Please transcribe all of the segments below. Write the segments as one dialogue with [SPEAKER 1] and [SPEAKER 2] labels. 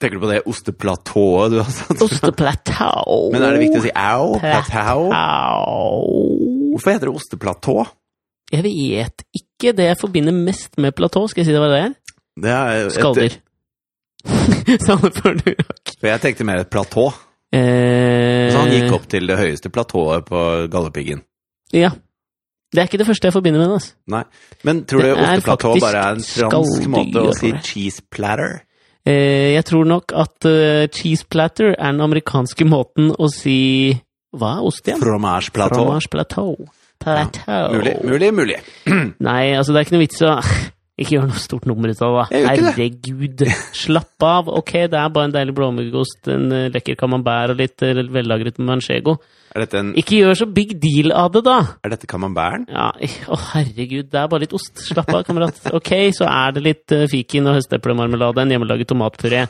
[SPEAKER 1] Tenker du på det osteplatået du har satt?
[SPEAKER 2] Osteplatå.
[SPEAKER 1] Men er det viktig å si au? Platau?
[SPEAKER 2] Platå.
[SPEAKER 1] Hvorfor heter det osteplatå?
[SPEAKER 2] Jeg vet ikke det jeg forbinder mest med platå, skal jeg si det var det er?
[SPEAKER 1] Det er et-
[SPEAKER 2] Skalldyr. Sanne før du rakk.
[SPEAKER 1] For jeg tenkte mer et platå.
[SPEAKER 2] Eh,
[SPEAKER 1] Så han gikk opp til det høyeste platået på Galdhøpiggen.
[SPEAKER 2] Ja. Det er ikke det første jeg forbinder med det. Altså.
[SPEAKER 1] Nei. Men tror du
[SPEAKER 2] Det er
[SPEAKER 1] osteplatå
[SPEAKER 2] faktisk
[SPEAKER 1] bare er en fransk
[SPEAKER 2] skalldyr,
[SPEAKER 1] måte å si
[SPEAKER 2] tror jeg.
[SPEAKER 1] cheese platter?
[SPEAKER 2] Eh, jeg tror nok at eh, cheese platter er den amerikanske måten å si Hva er ost igjen?
[SPEAKER 1] Fromage platå?
[SPEAKER 2] Fromage plateau. Plateau.
[SPEAKER 1] Mulig, mulig, mulig.
[SPEAKER 2] Nei, altså det er ikke noe vits å Ikke gjør noe stort nummer ut av det.
[SPEAKER 1] Jeg gjør
[SPEAKER 2] Herregud, slapp av. Ok, det er bare en deilig blåmuggost, en eh, lekker camembert og litt eh, vellagret manchego.
[SPEAKER 1] Er dette, en,
[SPEAKER 2] Ikke gjør så big deal av det, da!
[SPEAKER 1] er dette camembert?
[SPEAKER 2] Ja, eh, Å, herregud, det er bare litt ost. Slapp av, kamerat. Ok, så er det litt eh, fiken og høsteplemarmelade, en hjemmelaget tomatpuré,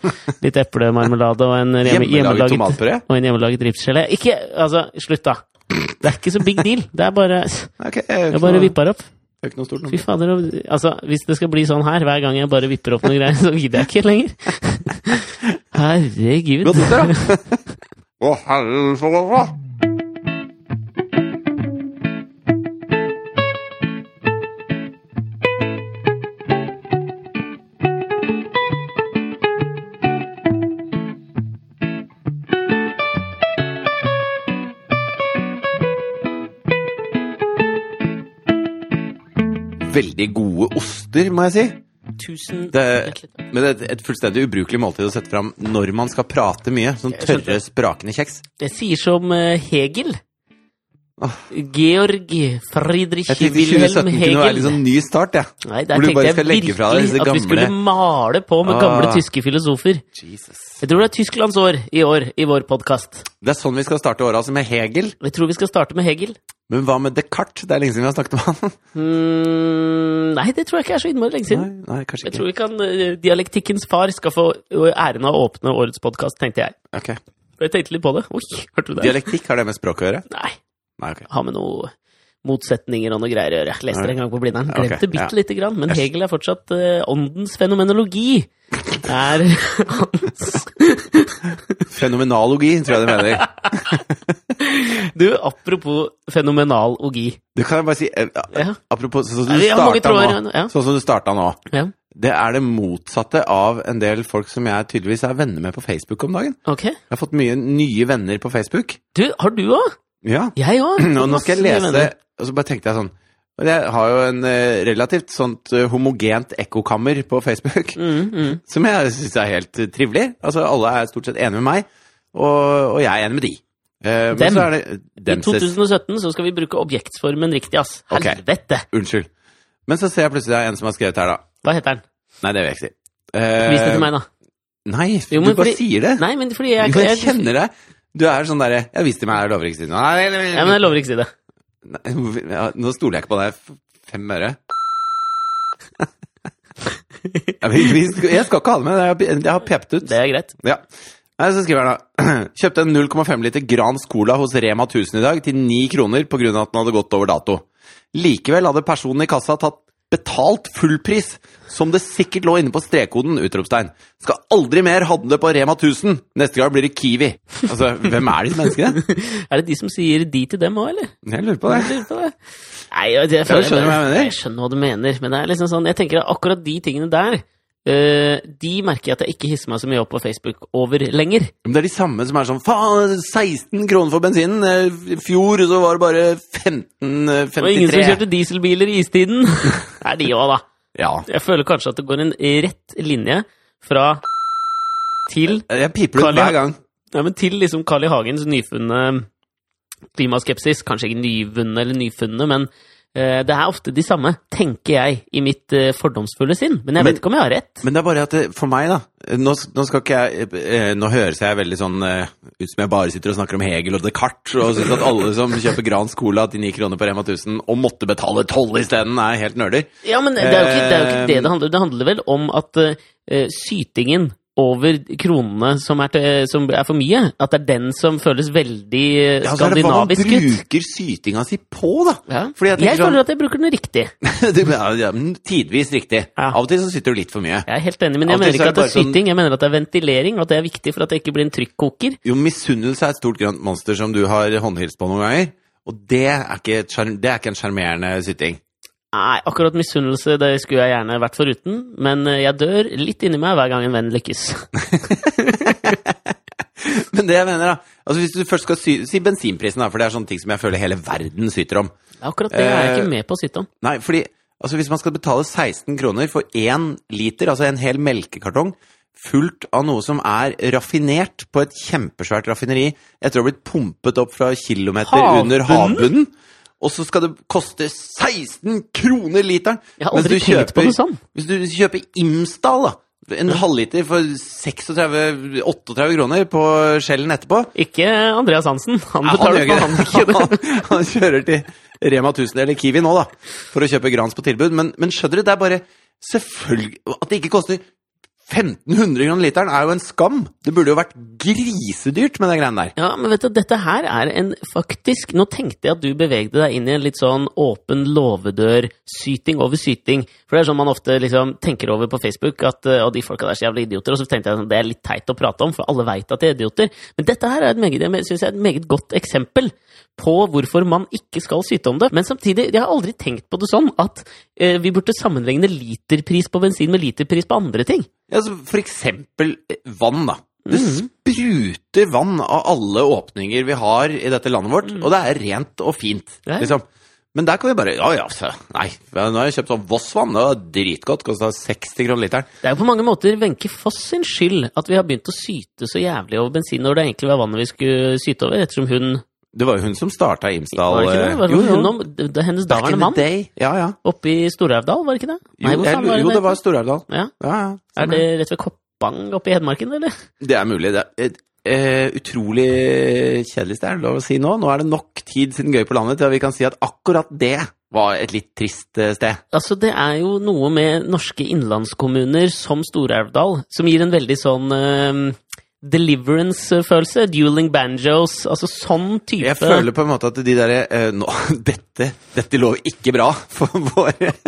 [SPEAKER 2] litt eplemarmelade og en hjemme,
[SPEAKER 1] Hjemmelaget
[SPEAKER 2] hjemmelaget
[SPEAKER 1] tomatpuré?
[SPEAKER 2] og en hjemmelaget ripsgelé. Ikke Altså, slutt, da! Det er ikke så big deal. Det er bare
[SPEAKER 1] Ok, det er jo
[SPEAKER 2] Jeg
[SPEAKER 1] ikke
[SPEAKER 2] bare
[SPEAKER 1] noe-
[SPEAKER 2] vipper opp.
[SPEAKER 1] det er ikke noe stort
[SPEAKER 2] Fy
[SPEAKER 1] nummer.
[SPEAKER 2] fader, og- altså, hvis det skal bli sånn her hver gang jeg bare vipper opp noen greier, så gidder jeg ikke lenger.
[SPEAKER 1] Godt
[SPEAKER 2] Herregud.
[SPEAKER 1] nyttår, da! Å, herre så bra! Veldig gode oster, må jeg si.
[SPEAKER 2] Tusen
[SPEAKER 1] Det, men det er et fullstendig ubrukelig måltid å sette fram når man skal prate mye. Sånn
[SPEAKER 2] Jeg skjønte.
[SPEAKER 1] tørre, sprakende kjeks.
[SPEAKER 2] Jeg sier som eh, Hegel.
[SPEAKER 1] Åh.
[SPEAKER 2] Georg Friedrich
[SPEAKER 1] Ah. Jeg tenkte
[SPEAKER 2] Wilhelm
[SPEAKER 1] 2017 kunne være
[SPEAKER 2] Hegel.
[SPEAKER 1] litt sånn ny start, jeg.
[SPEAKER 2] Nei, der
[SPEAKER 1] hvor du bare
[SPEAKER 2] tenkte jeg
[SPEAKER 1] skal legge fra deg disse
[SPEAKER 2] virkelig at vi skulle
[SPEAKER 1] gamle-
[SPEAKER 2] male på med gamle
[SPEAKER 1] Ah.
[SPEAKER 2] tyske filosofer.
[SPEAKER 1] Jesus.
[SPEAKER 2] Jeg tror det er Tysklands år i år i vår podkast.
[SPEAKER 1] Det er sånn vi skal starte året, altså med Hegel.
[SPEAKER 2] Jeg tror vi skal starte med Hegel.
[SPEAKER 1] Men hva med Descartes? Det er lenge siden vi har snakket om han.
[SPEAKER 2] Mm, nei, det tror jeg ikke er så innmari lenge siden.
[SPEAKER 1] Nei, nei kanskje
[SPEAKER 2] Jeg
[SPEAKER 1] ikke.
[SPEAKER 2] tror vi kan, eh, Dialektikkens far skal få eh, æren av å åpne årets podkast, tenkte jeg.
[SPEAKER 1] Ok.
[SPEAKER 2] For jeg tenkte litt på det. Oi, hørte du det?
[SPEAKER 1] Dialektikk, har det med språk å gjøre?
[SPEAKER 2] Nei,
[SPEAKER 1] Nei, ok.
[SPEAKER 2] har med noe motsetninger og noe greier å gjøre. Jeg leste det en gang på Blindern.
[SPEAKER 1] Ok,
[SPEAKER 2] Glemte det bitte
[SPEAKER 1] ja.
[SPEAKER 2] lite grann, men Hegel er fortsatt eh, åndens fenomenologi. Er hans
[SPEAKER 1] Fenomenologi, tror jeg det mener.
[SPEAKER 2] Du, apropos fenomenalogi.
[SPEAKER 1] Du kan jeg bare si, eh, a-
[SPEAKER 2] Ja.
[SPEAKER 1] apropos sånn som
[SPEAKER 2] Ja,
[SPEAKER 1] du
[SPEAKER 2] vi har mange
[SPEAKER 1] starta
[SPEAKER 2] tråder
[SPEAKER 1] nå,
[SPEAKER 2] igjen, ja.
[SPEAKER 1] sånn som du starta nå.
[SPEAKER 2] Ja.
[SPEAKER 1] Det er det motsatte av en del folk som jeg tydeligvis er venner med på Facebook om dagen.
[SPEAKER 2] Ok.
[SPEAKER 1] Jeg har fått mye nye venner på Facebook.
[SPEAKER 2] Du, har du òg?
[SPEAKER 1] Ja.
[SPEAKER 2] Jeg òg.
[SPEAKER 1] Og nå skal jeg lese, og så bare tenkte jeg sånn men Jeg har jo en eh, relativt sånt eh, homogent ekkokammer på Facebook,
[SPEAKER 2] Mm, mm.
[SPEAKER 1] som jeg syns er helt eh, trivelig. Altså, alle er stort sett enige med meg, og, og jeg er enig med de. Eh,
[SPEAKER 2] Dem.
[SPEAKER 1] Men så er det
[SPEAKER 2] I
[SPEAKER 1] dem, ses.
[SPEAKER 2] 2017 så skal vi bruke objektsformen riktig, ass.
[SPEAKER 1] Ok.
[SPEAKER 2] Helvete!
[SPEAKER 1] Unnskyld. Men så ser jeg plutselig det er en som har skrevet her, da.
[SPEAKER 2] Hva heter den?
[SPEAKER 1] Nei, det vil jeg ikke si. Eh,
[SPEAKER 2] Vis det til meg, da.
[SPEAKER 1] Nei,
[SPEAKER 2] Jo,
[SPEAKER 1] du
[SPEAKER 2] men
[SPEAKER 1] bare
[SPEAKER 2] fordi-
[SPEAKER 1] sier det.
[SPEAKER 2] Nei, men fordi jeg,
[SPEAKER 1] jeg,
[SPEAKER 2] jeg, jeg,
[SPEAKER 1] kjenner deg. Du er sånn derre Ja, vis til meg, jeg lover ikke å si noe. Nei, nei, nei,
[SPEAKER 2] ja, men jeg lover ikke å si det.
[SPEAKER 1] Nei, hvorfor- ja, nå stoler jeg ikke på deg. F- Fem øre. Ja, men vi skal- Jeg skal ikke ha det med, jeg har pe- jeg har pept ut.
[SPEAKER 2] Det er greit.
[SPEAKER 1] Ja. Nei, så skriver han da Kjøpte en 0,5 liter Grans Cola hos Rema 1000 i dag til 9 kroner på grunn av at den hadde gått over dato. Likevel hadde personen i kassa tatt betalt fullpris, som det sikkert lå inne på strekkoden, utropstegn. Skal aldri mer handle på Rema 1000! Neste gang blir det Kiwi. Altså, hvem er disse menneskene?
[SPEAKER 2] Er det de som sier de til dem òg, eller?
[SPEAKER 1] Jeg lurer på det.
[SPEAKER 2] Jeg lurer på det. Nei, jeg, jeg,
[SPEAKER 1] Ja, du skjønner hva jeg mener.
[SPEAKER 2] jeg skjønner hva du mener, men det er liksom sånn, jeg tenker at akkurat de tingene der, eh, de merker jeg at jeg ikke hisser meg så mye opp på Facebook over lenger.
[SPEAKER 1] Men det er de samme som er sånn Faen, 16 kroner for bensinen! eh, I fjor så var det bare 15 eh,
[SPEAKER 2] Det var ingen som
[SPEAKER 1] 53
[SPEAKER 2] kjørte dieselbiler i istiden. Det er de òg, da.
[SPEAKER 1] Ja.
[SPEAKER 2] Jeg føler kanskje at det går en rett linje fra til
[SPEAKER 1] Jeg piper
[SPEAKER 2] Carl
[SPEAKER 1] ut
[SPEAKER 2] I-
[SPEAKER 1] hver gang.
[SPEAKER 2] Nei, men til liksom Carl I. Hagens nyfunne eh, klimaskepsis. Kanskje ikke nyvunne eller nyfunne, men eh, det er ofte de samme, tenker jeg, i mitt eh, fordomsfulle sinn. Men
[SPEAKER 1] Men-
[SPEAKER 2] jeg vet ikke om jeg har rett.
[SPEAKER 1] Men det er bare at det, for meg, da Nå, nå skal ikke jeg eh, Nå høres jeg veldig sånn eh, ut som jeg bare sitter og snakker om Hegel og Descartes, og syns at alle som kjøper Grans Cola til 9 kroner på Rema 1000 og måtte betale 12 isteden, er helt nerder.
[SPEAKER 2] Ja, men det er jo ikke det er jo ikke, det,
[SPEAKER 1] Eh,
[SPEAKER 2] det handler om. Det handler vel om at eh, eh, sytingen over kronene som er, til, eh, som er for mye. At det er den som føles veldig eh,
[SPEAKER 1] Ja, så er det hva man
[SPEAKER 2] skandinavisk ut.
[SPEAKER 1] bruker sytinga si på, da.
[SPEAKER 2] Ja.
[SPEAKER 1] Fordi jeg
[SPEAKER 2] Jeg
[SPEAKER 1] tenker
[SPEAKER 2] føler at jeg bruker den riktig.
[SPEAKER 1] sånn det, ja, ja, men Tidvis riktig.
[SPEAKER 2] Ja.
[SPEAKER 1] Av og til så syter du litt for mye.
[SPEAKER 2] Jeg er helt enig, men jeg
[SPEAKER 1] Alltid så er
[SPEAKER 2] mener ikke at det
[SPEAKER 1] det
[SPEAKER 2] er
[SPEAKER 1] bare sånn-
[SPEAKER 2] syting, jeg mener at det er ventilering, og at det er viktig for at jeg ikke blir en trykkoker.
[SPEAKER 1] Jo, misunnelse er et stort grønt monster som du har håndhilst på noen ganger. Og det er ikke, et sjarm- det er ikke en sjarmerende syting.
[SPEAKER 2] Nei, akkurat misunnelse det skulle jeg gjerne vært foruten, men eh, jeg dør litt inni meg hver gang en venn lykkes.
[SPEAKER 1] Men det jeg mener, da altså Hvis du først skal sy si bensinprisen, da, for det er sånne ting som jeg føler hele verden syter om.
[SPEAKER 2] Akkurat det er jeg
[SPEAKER 1] Eh,
[SPEAKER 2] ikke med på å sitte om.
[SPEAKER 1] Nei, fordi altså hvis man skal betale 16 kroner for én liter, altså en hel melkekartong, fullt av noe som er raffinert på et kjempesvært raffineri etter å ha blitt pumpet opp fra kilometer
[SPEAKER 2] Havbunnen?
[SPEAKER 1] under havbunnen, og så skal det koste 16 kroner literen!
[SPEAKER 2] Jeg har
[SPEAKER 1] mens
[SPEAKER 2] aldri
[SPEAKER 1] du
[SPEAKER 2] tenkt på noe sånn.
[SPEAKER 1] Hvis du kjøper Imsdal, da. En halvliter for 36-38 kroner på skjellen etterpå.
[SPEAKER 2] Ikke Andreas Hansen, han
[SPEAKER 1] Nei,
[SPEAKER 2] betaler
[SPEAKER 1] gjør
[SPEAKER 2] for han
[SPEAKER 1] ikke
[SPEAKER 2] ikke
[SPEAKER 1] det.
[SPEAKER 2] det.
[SPEAKER 1] Han, han kjører til Rema 1000 eller Kiwi nå, da, for å kjøpe Grans på tilbud. Men, men skjønner du, det er bare selvfølgelig At det ikke koster 1500 kroner literen, er jo en skam. Det burde jo vært grisedyrt med de greiene der.
[SPEAKER 2] Ja, men vet du, dette her er en faktisk Nå tenkte jeg at du bevegde deg inn i en litt sånn åpen låvedør-syting over syting. For det er sånn man ofte liksom tenker over på Facebook, at eh, «Å, de folka der er så jævlig idioter. Og så tenkte jeg sånn, det er litt teit å prate om, for alle veit at de er idioter. Men dette her er et meget, jeg synes jeg er et meget godt eksempel på hvorfor man ikke skal syte om det. Men samtidig, jeg har aldri tenkt på det sånn at eh, vi burde sammenligne literpris på bensin med literpris på andre ting.
[SPEAKER 1] Ja, så for eksempel eh, vann, da. Det spruter vann av alle åpninger vi har i dette landet vårt, og det er rent og fint,
[SPEAKER 2] Ja, ja.
[SPEAKER 1] liksom. Men der kan vi bare Ja, ja, så, nei. Nå har jeg kjøpt sånn Voss-vann, det var dritgodt. Kosta 60 kroner literen.
[SPEAKER 2] Det er jo på mange måter Wenche Foss sin skyld at vi har begynt å syte så jævlig over bensin når det egentlig var vannet vi skulle syte over, ettersom hun
[SPEAKER 1] Det var jo hun som starta Imsdal. eh,
[SPEAKER 2] Var det ikke det? Var det
[SPEAKER 1] Jo, jo.
[SPEAKER 2] hun om det- det- hennes
[SPEAKER 1] Back in
[SPEAKER 2] daværende
[SPEAKER 1] the
[SPEAKER 2] mann
[SPEAKER 1] day. Ja, ja.
[SPEAKER 2] oppe i Storhaugdal, var det ikke det?
[SPEAKER 1] Jo, jeg,
[SPEAKER 2] hvor faen
[SPEAKER 1] lurer- jo det var
[SPEAKER 2] heter?
[SPEAKER 1] Stor-Elvdal.
[SPEAKER 2] ja.
[SPEAKER 1] Ja, ja.
[SPEAKER 2] Er
[SPEAKER 1] Stemmer.
[SPEAKER 2] det rett ved Koppang oppe i Hedmarken, eller?
[SPEAKER 1] Det er mulig. Det er et, eh, utrolig kjedelig sted, er det lov å si nå. Nå er det nok tid siden Gøy på landet til at vi kan si at akkurat det var et litt trist eh, sted.
[SPEAKER 2] Altså, det er jo noe med norske innlandskommuner som Storhaugdal som gir en veldig sånn eh, deliverance-følelse. Dueling banjos, altså sånn type
[SPEAKER 1] Jeg føler på en måte at de derre eh, nå, dette, dette lover ikke bra for våre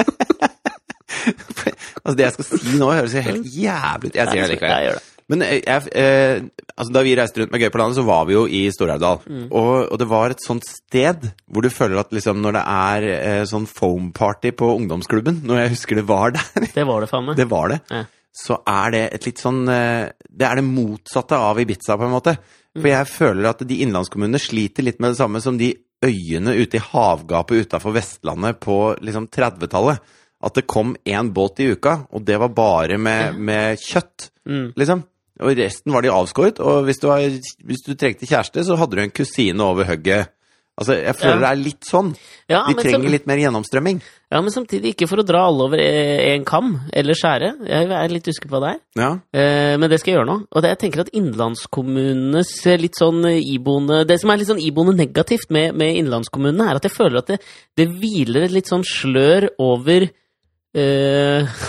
[SPEAKER 1] Altså, det jeg skal si nå, høres jo helt jævlig ut. Jeg sier det
[SPEAKER 2] jeg,
[SPEAKER 1] likevel.
[SPEAKER 2] gjør det.
[SPEAKER 1] Men eh, jeg, eh, altså da vi reiste rundt med Gøy på landet, så var vi jo i Storhaugdal. Og, og det var et sånt sted hvor du føler at liksom når det er eh, sånn foam-party på ungdomsklubben Når jeg husker det var der,
[SPEAKER 2] Det var det faen meg.
[SPEAKER 1] det var det,
[SPEAKER 2] Ja.
[SPEAKER 1] så er det et litt sånn eh, Det er det motsatte av Ibiza, på en måte. For jeg føler at de innlandskommunene sliter litt med det samme som de øyene ute i havgapet utafor Vestlandet på liksom 30-tallet. At det kom én båt i uka, og det var bare med, med kjøtt
[SPEAKER 2] Mm.
[SPEAKER 1] liksom. Og resten var de avskåret, og hvis du, var, hvis du trengte kjæreste, så hadde du en kusine over hugget. Altså, jeg føler
[SPEAKER 2] Ja.
[SPEAKER 1] det er litt sånn.
[SPEAKER 2] Ja,
[SPEAKER 1] De
[SPEAKER 2] men så-
[SPEAKER 1] trenger litt mer gjennomstrømming.
[SPEAKER 2] Ja, men samtidig ikke for å dra alle over én kam, eller skjære. Jeg er litt usikker på hva det er.
[SPEAKER 1] Ja.
[SPEAKER 2] Eh, Men det skal jeg gjøre nå. Og det, jeg tenker at innlandskommunenes litt sånn eh, iboende Det som er litt sånn iboende negativt med, med innlandskommunene, er at jeg føler at det, det hviler et litt sånn slør over eh,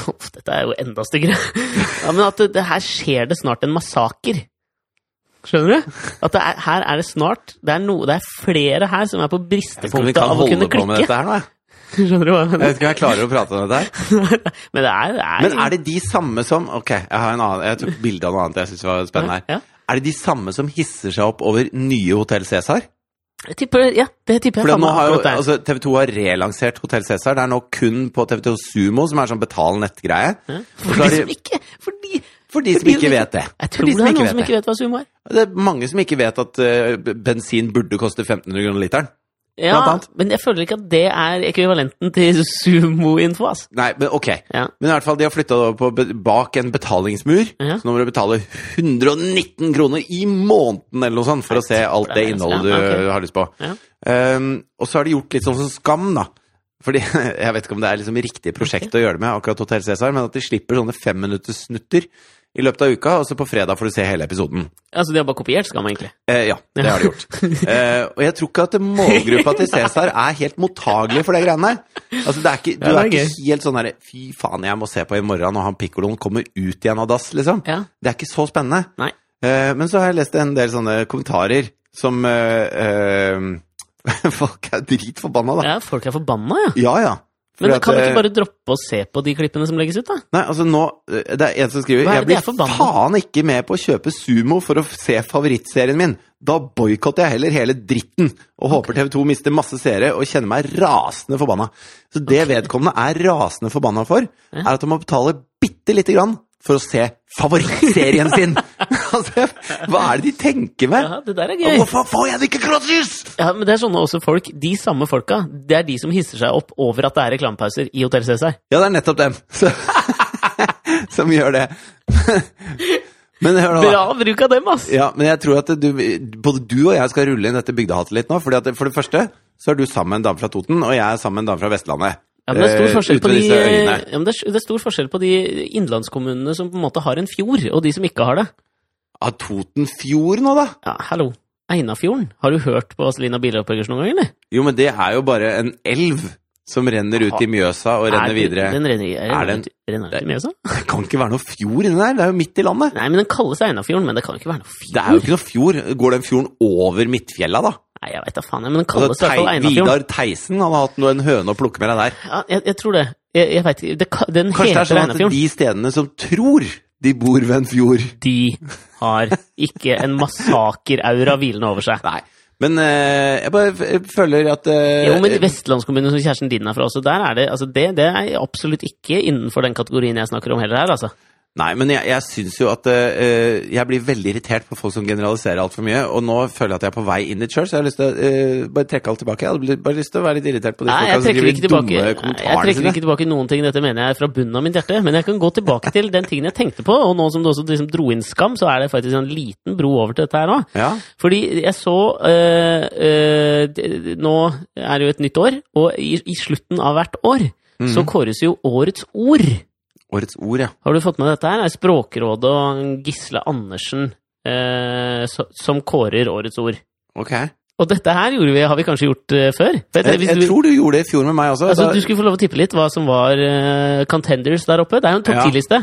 [SPEAKER 2] Uff, dette er jo enda styggere. Ja, men at det, det her skjer det snart en massaker. Skjønner du? At det er, her er det snart Det er, noe- det er flere her som er på
[SPEAKER 1] Skal vi
[SPEAKER 2] bristepunktet
[SPEAKER 1] kan
[SPEAKER 2] av å
[SPEAKER 1] holde
[SPEAKER 2] kunne
[SPEAKER 1] på med
[SPEAKER 2] klikke.
[SPEAKER 1] dette Eh, her nå, jeg?
[SPEAKER 2] Skjønner du hva jeg
[SPEAKER 1] Jeg
[SPEAKER 2] mener?
[SPEAKER 1] vet ikke om jeg klarer å prate om dette her.
[SPEAKER 2] Men det er, det er
[SPEAKER 1] Men er det de samme som Ok, jeg har en annen, jeg tok bilde av noe annet jeg syns var spennende her.
[SPEAKER 2] Ja.
[SPEAKER 1] Er det de samme som hisser seg opp over nye Hotell Cæsar?
[SPEAKER 2] Jeg tipper, ja, det tipper jeg
[SPEAKER 1] For
[SPEAKER 2] faen
[SPEAKER 1] nå
[SPEAKER 2] meg
[SPEAKER 1] har jo,
[SPEAKER 2] akkurat der.
[SPEAKER 1] altså, TV 2 har relansert Hotell Cæsar. Det er nå kun på TV 2 Sumo, som er sånn betal nett-greie.
[SPEAKER 2] Ja.
[SPEAKER 1] så
[SPEAKER 2] For
[SPEAKER 1] har
[SPEAKER 2] de
[SPEAKER 1] de-
[SPEAKER 2] som ikke Fordi
[SPEAKER 1] For de som
[SPEAKER 2] Fordi-
[SPEAKER 1] ikke vet det.
[SPEAKER 2] Jeg
[SPEAKER 1] For
[SPEAKER 2] tror
[SPEAKER 1] de
[SPEAKER 2] det
[SPEAKER 1] som
[SPEAKER 2] er
[SPEAKER 1] ikke
[SPEAKER 2] noen
[SPEAKER 1] vet
[SPEAKER 2] som
[SPEAKER 1] det.
[SPEAKER 2] ikke vet hva sumo er.
[SPEAKER 1] Det er mange som ikke vet at eh, b- bensin burde koste 1500 kroner literen.
[SPEAKER 2] Ja,
[SPEAKER 1] Blant annet.
[SPEAKER 2] men jeg føler ikke at det er ekvivalenten til sumo-info, ass.
[SPEAKER 1] Nei, men ok.
[SPEAKER 2] Ja.
[SPEAKER 1] Men i hvert fall, de har flytta det over på be- bak en betalingsmur.
[SPEAKER 2] Ja.
[SPEAKER 1] Så nå må du betale 119 kroner i måneden eller noe sånt for å se alt
[SPEAKER 2] det
[SPEAKER 1] det
[SPEAKER 2] er nesten-
[SPEAKER 1] innholdet du
[SPEAKER 2] ja, ok.
[SPEAKER 1] har lyst på.
[SPEAKER 2] Ja.
[SPEAKER 1] Ehm, og så har de gjort litt sånn som Skam, da. Fordi Jeg vet ikke om det er liksom riktig prosjekt å gjøre det med, akkurat Hotell Cæsar, men at de slipper sånne femminutterssnutter i løpet av uka, og så på fredag får du se hele episoden.
[SPEAKER 2] Altså, de har bare kopiert Skam, egentlig.
[SPEAKER 1] Eh, ja, det har de gjort. Eh, og jeg tror ikke at målgruppa til Cæsar er helt mottagelig for de greiene der. Altså, det er ikke, du
[SPEAKER 2] Ja, det er
[SPEAKER 1] er ikke helt sånn derre Fy faen, jeg må se på i morgen når han pikkoloen kommer ut igjen av dass, liksom.
[SPEAKER 2] Ja.
[SPEAKER 1] Det er ikke så spennende.
[SPEAKER 2] Nei.
[SPEAKER 1] Eh, men så har jeg lest en del sånne kommentarer som eh, eh, Folk er dritforbanna, da.
[SPEAKER 2] Ja, folk er forbanna, ja.
[SPEAKER 1] Ja ja. Fordi
[SPEAKER 2] Men
[SPEAKER 1] at,
[SPEAKER 2] kan vi
[SPEAKER 1] eh,
[SPEAKER 2] ikke bare droppe å se på de klippene som legges ut, da?
[SPEAKER 1] Nei, altså nå eh, Det er en som skriver
[SPEAKER 2] Hva er
[SPEAKER 1] Jeg
[SPEAKER 2] det de
[SPEAKER 1] blir
[SPEAKER 2] er forbanna
[SPEAKER 1] faen ikke med på å kjøpe sumo for å se favorittserien min. Da boikotter jeg heller hele dritten og håper TV 2 mister masse seere og kjenner meg rasende forbanna. Så det vedkommende er rasende forbanna for, er at han må betale bitte lite grann for å se favorittserien sin! altså, hva er det de tenker med?
[SPEAKER 2] Ja, det der er
[SPEAKER 1] Og
[SPEAKER 2] gøy.
[SPEAKER 1] Hvorfor får jeg det ikke gratis?!
[SPEAKER 2] Ja, men det er sånne også folk, de samme folka, det er de som hisser seg opp over at det er reklamepauser i Hotell Cæsar.
[SPEAKER 1] Ja, det er nettopp dem så, som gjør det. Men hør nå, da.
[SPEAKER 2] Bra bruk av dem, ass!
[SPEAKER 1] Ja, men jeg tror at du, både du og jeg skal rulle inn dette bygdehatet litt nå. Fordi at For det første så er du sammen med en dame fra Toten, og jeg er sammen med en dame fra Vestlandet.
[SPEAKER 2] Ja, men det er
[SPEAKER 1] Eh,
[SPEAKER 2] stor forskjell
[SPEAKER 1] ut
[SPEAKER 2] på
[SPEAKER 1] med
[SPEAKER 2] de,
[SPEAKER 1] disse
[SPEAKER 2] ja,
[SPEAKER 1] øyene.
[SPEAKER 2] men det er, det er stor forskjell på de innlandskommunene som på en måte har en fjord, og de som ikke har det.
[SPEAKER 1] Har Toten fjord nå, da?
[SPEAKER 2] Ja, hallo. Einafjorden. Har du hørt på Celina Bilopphøggers noen gang, eller?
[SPEAKER 1] Jo, men det er jo bare en elv som renner ut i Mjøsa og renner
[SPEAKER 2] Er det-
[SPEAKER 1] videre.
[SPEAKER 2] Den renner,
[SPEAKER 1] Er
[SPEAKER 2] er, er
[SPEAKER 1] den-
[SPEAKER 2] den, renner den til Mjøsa?
[SPEAKER 1] Det kan ikke være noe fjord inni der, det er jo midt i landet.
[SPEAKER 2] Nei, men den kalles Einafjorden, men det kan jo ikke være noe fjord.
[SPEAKER 1] Det er jo ikke noe fjord. Går den fjorden over Midtfjella, da?
[SPEAKER 2] Nei, jeg vet da faen, jeg, men den kalles i
[SPEAKER 1] Altså,
[SPEAKER 2] hvert fall
[SPEAKER 1] Tei,
[SPEAKER 2] Einafjorden.
[SPEAKER 1] Vidar Theisen han har hatt noe- en høne å plukke med deg der.
[SPEAKER 2] Ja, jeg, jeg tror det. Jeg, jeg vet ikke. Det, ka- den
[SPEAKER 1] Kanskje det er
[SPEAKER 2] heter
[SPEAKER 1] sånn at
[SPEAKER 2] Einafjorden.
[SPEAKER 1] de stedene som tror de bor ved en fjord
[SPEAKER 2] De har ikke en massakeraura hvilende over seg.
[SPEAKER 1] Nei. Men eh, jeg bare f- jeg føler at eh,
[SPEAKER 2] Jo, men Vestlandskommunen som kjæresten din er fra også, der er det, altså det, det er absolutt ikke innenfor den kategorien jeg snakker om heller her, altså.
[SPEAKER 1] Nei, men jeg, jeg syns jo at eh, jeg blir veldig irritert på folk som generaliserer altfor mye. Og nå føler jeg at jeg er på vei inn i church, så jeg har lyst til å eh, bare trekke alt tilbake. Jeg hadde bli- bare lyst til å være litt irritert på de
[SPEAKER 2] Nei,
[SPEAKER 1] folka
[SPEAKER 2] jeg
[SPEAKER 1] som
[SPEAKER 2] trekker
[SPEAKER 1] skriver
[SPEAKER 2] ikke tilbake,
[SPEAKER 1] dumme
[SPEAKER 2] Nei, jeg
[SPEAKER 1] kommentarer
[SPEAKER 2] trekker
[SPEAKER 1] sine.
[SPEAKER 2] ikke tilbake noen ting, dette mener jeg fra bunnen av mitt hjerte, men jeg kan gå tilbake til den tingen jeg tenkte på, og nå som du også liksom dro inn skam, så er det faktisk en liten bro over til dette her nå.
[SPEAKER 1] Ja.
[SPEAKER 2] Fordi jeg så øh, øh, det- Nå er det jo et nytt år, og i, i slutten av hvert år
[SPEAKER 1] Mhm.
[SPEAKER 2] så kåres jo Årets ord.
[SPEAKER 1] Mm. Årets ord, ja.
[SPEAKER 2] Har du fått med dette her? Det er Språkrådet og Gisle Andersen øh, så, som kårer Årets ord.
[SPEAKER 1] Ok. Jeg,
[SPEAKER 2] Og dette her gjorde vi, har vi kanskje gjort øh, før? For jeg- hvis
[SPEAKER 1] jeg
[SPEAKER 2] du-
[SPEAKER 1] tror du gjorde det i fjor med meg også.
[SPEAKER 2] Altså,
[SPEAKER 1] da-
[SPEAKER 2] du skulle få lov å tippe litt hva som var eh, contenders der oppe. Det er jo en topp
[SPEAKER 1] Ja.
[SPEAKER 2] ti-liste.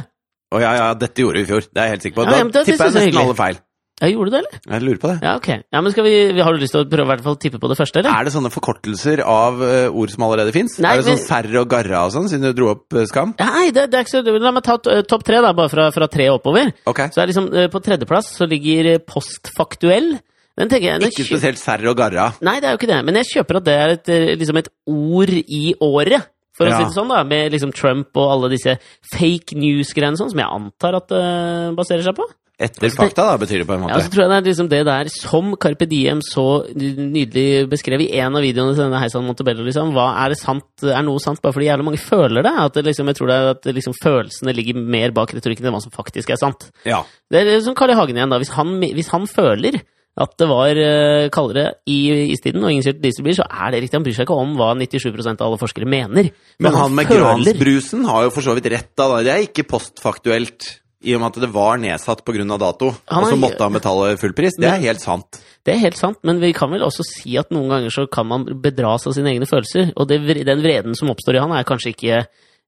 [SPEAKER 1] Å ja, ja, dette gjorde du i fjor. Det er jeg helt sikker på.
[SPEAKER 2] Ja,
[SPEAKER 1] Da
[SPEAKER 2] ja, men det- det
[SPEAKER 1] tipper jeg
[SPEAKER 2] synes jeg
[SPEAKER 1] nesten
[SPEAKER 2] er
[SPEAKER 1] alle feil.
[SPEAKER 2] Ja, gjorde du det, eller?
[SPEAKER 1] Jeg lurer på det.
[SPEAKER 2] Ja, ok. Ja, men skal vi, vi- Har du lyst til å prøve i hvert fall å tippe på det første, eller?
[SPEAKER 1] Er det sånne forkortelser av eh, ord som allerede fins?
[SPEAKER 2] Nei,
[SPEAKER 1] Er det sånn
[SPEAKER 2] men-
[SPEAKER 1] serre og garra og sånn, siden du dro opp eh, Skam?
[SPEAKER 2] Nei, det, det er ikke så La meg ta eh, topp tre, da, bare fra, fra tre og oppover.
[SPEAKER 1] Ok.
[SPEAKER 2] Så er liksom eh, På tredjeplass så ligger eh, postfaktuell. Den tenker jeg den
[SPEAKER 1] Ikke
[SPEAKER 2] kjø-
[SPEAKER 1] spesielt serre og garra.
[SPEAKER 2] Nei, det er jo ikke det. Men jeg kjøper at det er et, eh, liksom et ord i året. For å
[SPEAKER 1] Ja.
[SPEAKER 2] si det sånn, da. Med liksom Trump og alle disse fake news-greiene sånn, som jeg antar at det baserer seg på. Altså,
[SPEAKER 1] Etter fakta, da, betyr det på en
[SPEAKER 2] Ja,
[SPEAKER 1] måte.
[SPEAKER 2] så tror jeg det er liksom det der som Carpe Diem så nydelig beskrev i en av videoene til denne Heisan Montebello, liksom. Hva er det sant, er noe sant bare fordi jævlig mange føler det? At det liksom, jeg tror det er at liksom følelsene ligger mer bak retorikken enn hva som faktisk er sant.
[SPEAKER 1] Ja.
[SPEAKER 2] Det er som Carl I. Hagen igjen, da. Hvis han, hvis han føler at det var eh, kaldere i istiden og ingen kjørte dieselbil, så er det riktig. Han bryr seg ikke om hva 97 av alle forskere mener.
[SPEAKER 1] Men han med
[SPEAKER 2] føler-
[SPEAKER 1] gransbrusen har jo for så vidt rett, da. Det er ikke postfaktuelt. I og med at det var nedsatt pga. dato,
[SPEAKER 2] Han
[SPEAKER 1] og så
[SPEAKER 2] er-
[SPEAKER 1] måtte han betale full pris. Det er
[SPEAKER 2] Men-
[SPEAKER 1] helt sant.
[SPEAKER 2] Det er helt sant, men vi kan vel også si at noen ganger så kan man bedras av sine egne følelser, og det, vre- den vreden som oppstår i han er kanskje ikke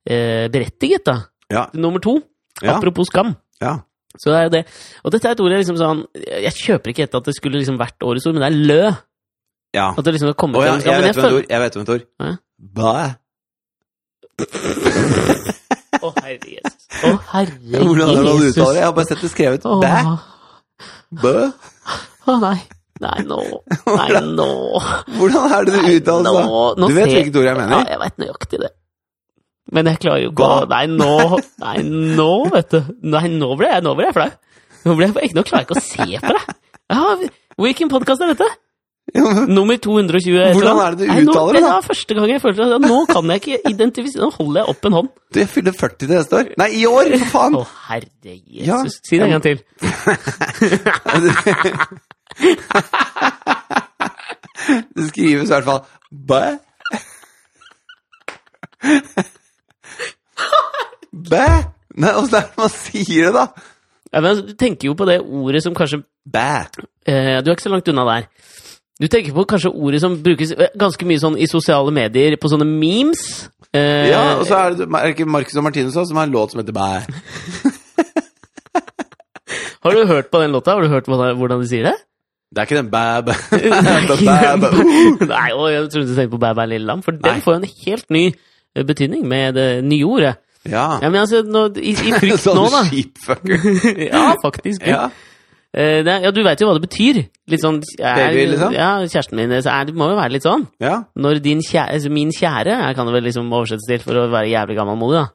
[SPEAKER 2] eh, berettiget, da.
[SPEAKER 1] Ja.
[SPEAKER 2] Nummer to,
[SPEAKER 1] Ja.
[SPEAKER 2] apropos skam.
[SPEAKER 1] ja.
[SPEAKER 2] Så det er jo det. Og dette er et ord jeg liksom sånn Jeg kjøper ikke dette at det skulle liksom vært årets ord, men det er lø.
[SPEAKER 1] ja.
[SPEAKER 2] At det liksom har kommet
[SPEAKER 1] Å ja,
[SPEAKER 2] til-
[SPEAKER 1] jeg
[SPEAKER 2] men
[SPEAKER 1] vet hvem
[SPEAKER 2] føler-
[SPEAKER 1] Tor. Jeg vet hvem Tor.
[SPEAKER 2] Hæ?
[SPEAKER 1] Bæ.
[SPEAKER 2] Å, herre Jesus. Å, herre
[SPEAKER 1] Hvordan er det du
[SPEAKER 2] Jesus.
[SPEAKER 1] uttaler det? Jeg har bare sett det skrevet.
[SPEAKER 2] Åh.
[SPEAKER 1] Bæ. Bø.
[SPEAKER 2] Å, nei. Nei, nå. Nei, nå.
[SPEAKER 1] Hvordan er det du
[SPEAKER 2] Nei,
[SPEAKER 1] uttaler det?
[SPEAKER 2] nå- nå
[SPEAKER 1] Du vet
[SPEAKER 2] ser-
[SPEAKER 1] hvilket ord jeg
[SPEAKER 2] Ja,
[SPEAKER 1] mener?
[SPEAKER 2] jeg veit nøyaktig det. Men jeg klarer jo ikke
[SPEAKER 1] Hva?
[SPEAKER 2] å Nei, nå, nei, nå, vet du. Nei, nå ble jeg, nå ble jeg flau. Nå ble jeg ikke, nå klarer jeg ikke å se på deg. Ja, Hvilken podkast er dette? Nummer 220. et eller
[SPEAKER 1] Hvordan
[SPEAKER 2] annet.
[SPEAKER 1] er det du
[SPEAKER 2] Nei,
[SPEAKER 1] uttaler
[SPEAKER 2] nå,
[SPEAKER 1] det,
[SPEAKER 2] Det
[SPEAKER 1] da?
[SPEAKER 2] var første gang jeg følte at nå kan jeg ikke identifisere Nå holder jeg opp en hånd.
[SPEAKER 1] Du, jeg fyller 40 til neste år. Nei, i år, for faen!
[SPEAKER 2] Å, herre
[SPEAKER 1] Ja.
[SPEAKER 2] Jesus. Si det en gang til.
[SPEAKER 1] det skrives i hvert fall Bæ. Bæ. Nei, åssen er det man sier det, da?
[SPEAKER 2] Ja, men du tenker jo på det ordet som kanskje
[SPEAKER 1] Bæ!
[SPEAKER 2] eh, Du er ikke så langt unna der. Du tenker på kanskje ordet som brukes eh, ganske mye sånn i sosiale medier, på sånne memes. Eh,
[SPEAKER 1] Ja, altså- og så er det, er det ikke Marcus og Martinus også, som har en låt som heter Bæ.
[SPEAKER 2] Har du hørt på den låta? Har du hørt hvordan hvordan de sier det?
[SPEAKER 1] Det er ikke den bæ, bæ, bæ, bæ, bæ.
[SPEAKER 2] Nei, og jeg trodde du tenkte på Bæ Bæ Lille Lam, for
[SPEAKER 1] Nei.
[SPEAKER 2] den får jo en helt ny eh, betydning med det nye ordet.
[SPEAKER 1] Ja.
[SPEAKER 2] Ja, men altså, nå, i, i frykt
[SPEAKER 1] Sånn
[SPEAKER 2] nå, da.
[SPEAKER 1] sheepfucker.
[SPEAKER 2] ja, faktisk.
[SPEAKER 1] Ja.
[SPEAKER 2] Eh, det, er- ja, du veit jo hva det betyr. Litt sånn er,
[SPEAKER 1] Baby, liksom?
[SPEAKER 2] Ja, kjæresten min så er, Det må jo være litt sånn.
[SPEAKER 1] ja.
[SPEAKER 2] Når din kjære, altså min kjære jeg kan det vel liksom oversettes til for å være jævlig gammelmodig, da.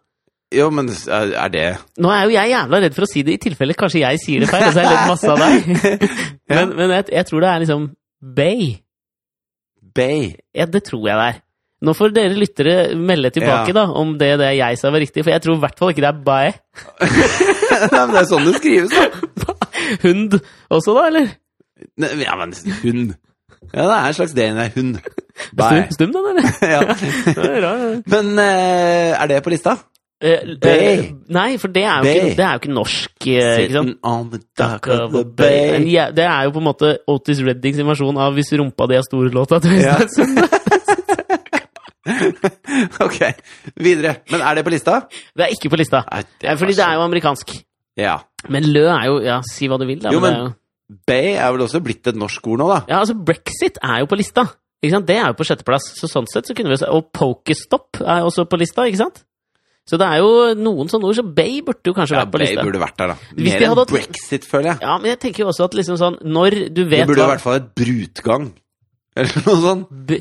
[SPEAKER 1] Jo, men er er det
[SPEAKER 2] Nå er jo jeg jævla redd for å si det, i tilfelle kanskje jeg sier det feil. Og så er jeg redd masse av deg.
[SPEAKER 1] Ja.
[SPEAKER 2] Men, men jeg, jeg tror det er liksom Bay.
[SPEAKER 1] Bay.
[SPEAKER 2] Ja, det tror jeg det er. Nå får dere lyttere melde tilbake
[SPEAKER 1] Ja.
[SPEAKER 2] da, om det, det jeg sa var riktig, for jeg tror i hvert fall ikke det er Bay.
[SPEAKER 1] Nei, men det er sånn det skrives, da.
[SPEAKER 2] Hund også, da, eller?
[SPEAKER 1] Ne- Ja, men hund. Ja, det er en slags det, nei, hund.
[SPEAKER 2] Stum,
[SPEAKER 1] Bæ.
[SPEAKER 2] stum den, eller?
[SPEAKER 1] Ja.
[SPEAKER 2] Det er rar, det.
[SPEAKER 1] Men eh, er det på lista?
[SPEAKER 2] Eh,
[SPEAKER 1] Bay.
[SPEAKER 2] eh, Nei, for det er jo,
[SPEAKER 1] Bay.
[SPEAKER 2] ikke, det er jo ikke norsk. eh, Ikke sant?
[SPEAKER 1] Sitting on the dock of the
[SPEAKER 2] En
[SPEAKER 1] bay.
[SPEAKER 2] jæ- Det er jo på en måte Otis Reddings versjon av 'Hvis rumpa di er stor'-låta. til
[SPEAKER 1] Ja.
[SPEAKER 2] Øystein Sunde.
[SPEAKER 1] Ok, videre. Men er det på lista?
[SPEAKER 2] Det er ikke på lista.
[SPEAKER 1] Nei,
[SPEAKER 2] Ja, Fordi det er jo amerikansk.
[SPEAKER 1] Ja.
[SPEAKER 2] Men lø er jo Ja, si hva du vil, da.
[SPEAKER 1] Jo,
[SPEAKER 2] men det
[SPEAKER 1] men-
[SPEAKER 2] er jo,
[SPEAKER 1] Bay er vel også blitt et norsk ord nå, da?
[SPEAKER 2] ja, altså, brexit er jo på lista. Ikke sant? Det er jo på sjetteplass. Så sånn sett så kunne vi se- Og pokestopp er også på lista, ikke sant? Så det er jo noen sånne ord, så Bay burde jo kanskje
[SPEAKER 1] Ja,
[SPEAKER 2] vært på
[SPEAKER 1] Bay
[SPEAKER 2] lista.
[SPEAKER 1] burde vært der, da.
[SPEAKER 2] Hvis
[SPEAKER 1] Mer
[SPEAKER 2] de
[SPEAKER 1] enn
[SPEAKER 2] hadde hatt-
[SPEAKER 1] brexit, føler jeg.
[SPEAKER 2] Ja, men jeg tenker jo også at liksom sånn Når du
[SPEAKER 1] Det
[SPEAKER 2] vet
[SPEAKER 1] burde i hvert fall et brutgang. Eller noe sånt.
[SPEAKER 2] B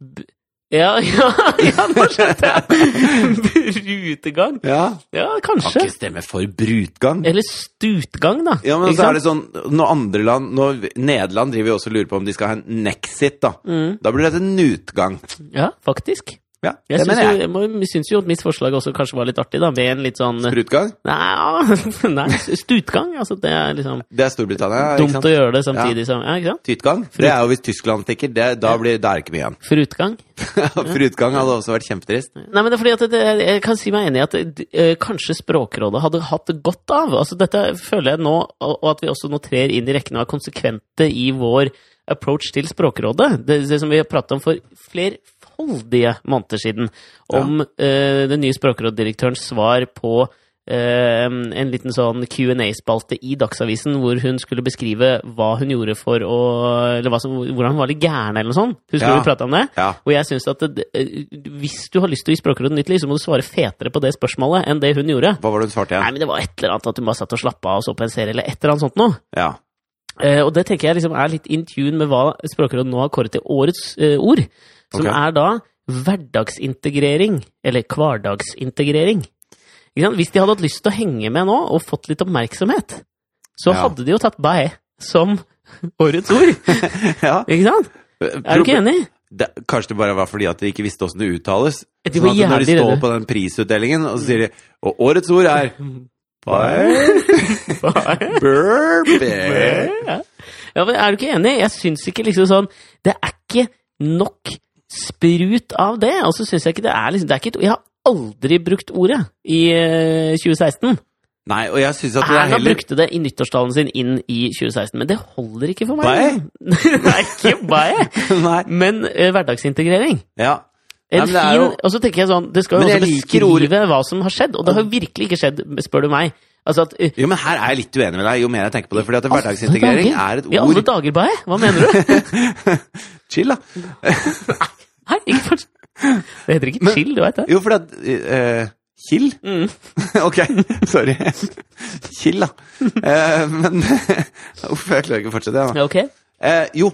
[SPEAKER 2] b ja, ja, ja, nå skjønte jeg! Rutegang?
[SPEAKER 1] Ja.
[SPEAKER 2] Ja,
[SPEAKER 1] Kan
[SPEAKER 2] kanskje.
[SPEAKER 1] ikke stemme for brutgang.
[SPEAKER 2] Eller stutgang, da.
[SPEAKER 1] Ja, men
[SPEAKER 2] Ikke
[SPEAKER 1] så er
[SPEAKER 2] sant?
[SPEAKER 1] det sånn Når andre land når Nederland driver jo også og lurer på om de skal ha en nexit, da.
[SPEAKER 2] Mm.
[SPEAKER 1] Da blir det en utgang.
[SPEAKER 2] Ja, faktisk.
[SPEAKER 1] Ja,
[SPEAKER 2] Jeg
[SPEAKER 1] det
[SPEAKER 2] syns jo,
[SPEAKER 1] mener jeg.
[SPEAKER 2] jeg må, jeg syns jo at mitt forslag også kanskje var litt artig, da, med en litt sånn Nei,
[SPEAKER 1] Brutgang.
[SPEAKER 2] ja, nei stutgang. Altså, det er liksom
[SPEAKER 1] Det er Storbritannia, ikke
[SPEAKER 2] dumt å
[SPEAKER 1] sant?
[SPEAKER 2] gjøre det samtidig som Ja, ikke sant?
[SPEAKER 1] Tytgang. Det er jo hvis Tyskland stikker. Det, da blir, da er det ikke mye igjen.
[SPEAKER 2] Frutgang.
[SPEAKER 1] Frutgang hadde også vært kjempetrist.
[SPEAKER 2] Nei, men det er fordi at det, jeg kan si meg enig i at eh, kanskje Språkrådet hadde hatt det godt av. Altså, dette føler jeg nå, og og at vi også nå trer inn i rekken og er konsekvente i vår approach til Språkrådet. Det, det som vi har pratet om for flerfoldige måneder siden, om eh, den nye Språkrådsdirektørens svar på eh, en liten sånn Q&A-spalte i Dagsavisen, hvor hun skulle beskrive hva hun gjorde for å Eller hva som, hvordan hun var litt gæren, eller noe sånt. Husker
[SPEAKER 1] Ja.
[SPEAKER 2] du vi prata om det?
[SPEAKER 1] Ja.
[SPEAKER 2] Og jeg synes at det, eh, hvis du har lyst til å gi Språkrådet nytt liv, så må du svare fetere på det spørsmålet enn det hun gjorde.
[SPEAKER 1] Hva var det hun svarte
[SPEAKER 2] Nei,
[SPEAKER 1] igjen?
[SPEAKER 2] men det var et eller annet at hun bare satt og slappa av og så på en serie, eller et eller annet sånt noe.
[SPEAKER 1] Ja.
[SPEAKER 2] Eh, og det tenker jeg liksom er litt in tune med hva Språkrådet nå har kåret til årets eh, ord, som
[SPEAKER 1] Ok.
[SPEAKER 2] er da hverdagsintegrering, eller hverdagsintegrering. Ikke sant? Hvis de hadde hatt lyst til å henge med nå, og fått litt oppmerksomhet, så
[SPEAKER 1] Ja.
[SPEAKER 2] hadde de jo tatt bæ som årets ord,
[SPEAKER 1] ja.
[SPEAKER 2] ikke sant? Er du ikke enig?
[SPEAKER 1] det, kanskje det bare var fordi at de ikke visste åssen det uttales.
[SPEAKER 2] De var
[SPEAKER 1] Sånn at når de
[SPEAKER 2] jævlig
[SPEAKER 1] står
[SPEAKER 2] redde.
[SPEAKER 1] på den prisutdelingen, og så sier de Og årets ord er Burpee.
[SPEAKER 2] Ja, men Er du ikke enig? Jeg syns ikke liksom sånn Det er ikke nok sprut av det. Og så syns jeg ikke det er liksom det er ikke, et- Jeg har aldri brukt ordet i eh, 2016.
[SPEAKER 1] Nei, og jeg syns at det er
[SPEAKER 2] Erna
[SPEAKER 1] heller
[SPEAKER 2] brukte det i nyttårstalen sin inn i 2016, men det holder ikke for meg.
[SPEAKER 1] Bye.
[SPEAKER 2] liksom. Nei, ikke bye.
[SPEAKER 1] Nei.
[SPEAKER 2] Men eh, hverdagsintegrering.
[SPEAKER 1] Ja. Nei,
[SPEAKER 2] En
[SPEAKER 1] men det er
[SPEAKER 2] fin,
[SPEAKER 1] jo-
[SPEAKER 2] og så tenker jeg sånn, Det skal jo
[SPEAKER 1] Men
[SPEAKER 2] også
[SPEAKER 1] jeg liker
[SPEAKER 2] beskrive hva som har skjedd, og det har jo virkelig ikke skjedd, spør du meg. Altså at eh,
[SPEAKER 1] Jo, men her er jeg litt uenig med deg, jo mer jeg tenker på det. Fordi at hverdagsintegrering
[SPEAKER 2] Alle
[SPEAKER 1] er et
[SPEAKER 2] dager. I alle
[SPEAKER 1] ord
[SPEAKER 2] dager, Bae? Hva mener du?
[SPEAKER 1] Chill, da.
[SPEAKER 2] Hei, ikke fort. Det heter ikke chill, du veit det?
[SPEAKER 1] Jo, fordi at eh, Kill?
[SPEAKER 2] Mm.
[SPEAKER 1] ok, sorry. Kill, da. Eh, men Uff, jeg klarer ikke å fortsette, jeg. da.
[SPEAKER 2] Ja, Ok.
[SPEAKER 1] Eh, jo,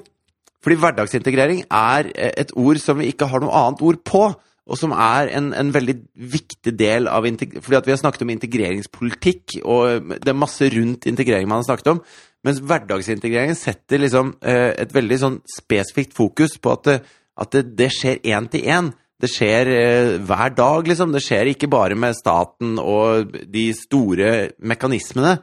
[SPEAKER 1] fordi hverdagsintegrering er eh, et ord som vi ikke har noe annet ord på, og som er en, en veldig viktig del av integ- Fordi at vi har snakket om integreringspolitikk, og eh, det er masse rundt integrering man har snakket om. Mens hverdagsintegreringen setter liksom eh, et veldig sånn spesifikt fokus på at det, at det, det skjer én til én. Det skjer eh, hver dag, liksom. Det skjer ikke bare med staten og de store mekanismene.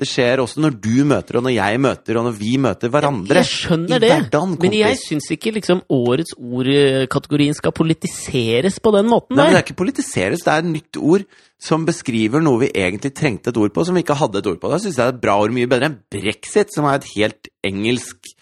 [SPEAKER 1] Det skjer også når du møter, og når jeg møter, og når vi møter hverandre.
[SPEAKER 2] Jeg skjønner
[SPEAKER 1] I
[SPEAKER 2] det,
[SPEAKER 1] hverdagen,
[SPEAKER 2] men jeg
[SPEAKER 1] kompis.
[SPEAKER 2] syns ikke liksom årets ord-kategorien skal politiseres på den måten
[SPEAKER 1] Nei, men
[SPEAKER 2] der.
[SPEAKER 1] det er ikke politiseres, det er et nytt ord som beskriver noe vi egentlig trengte et ord på, som vi ikke hadde et ord på. Da syns jeg det er et bra ord mye bedre enn brexit, som er et helt engelsk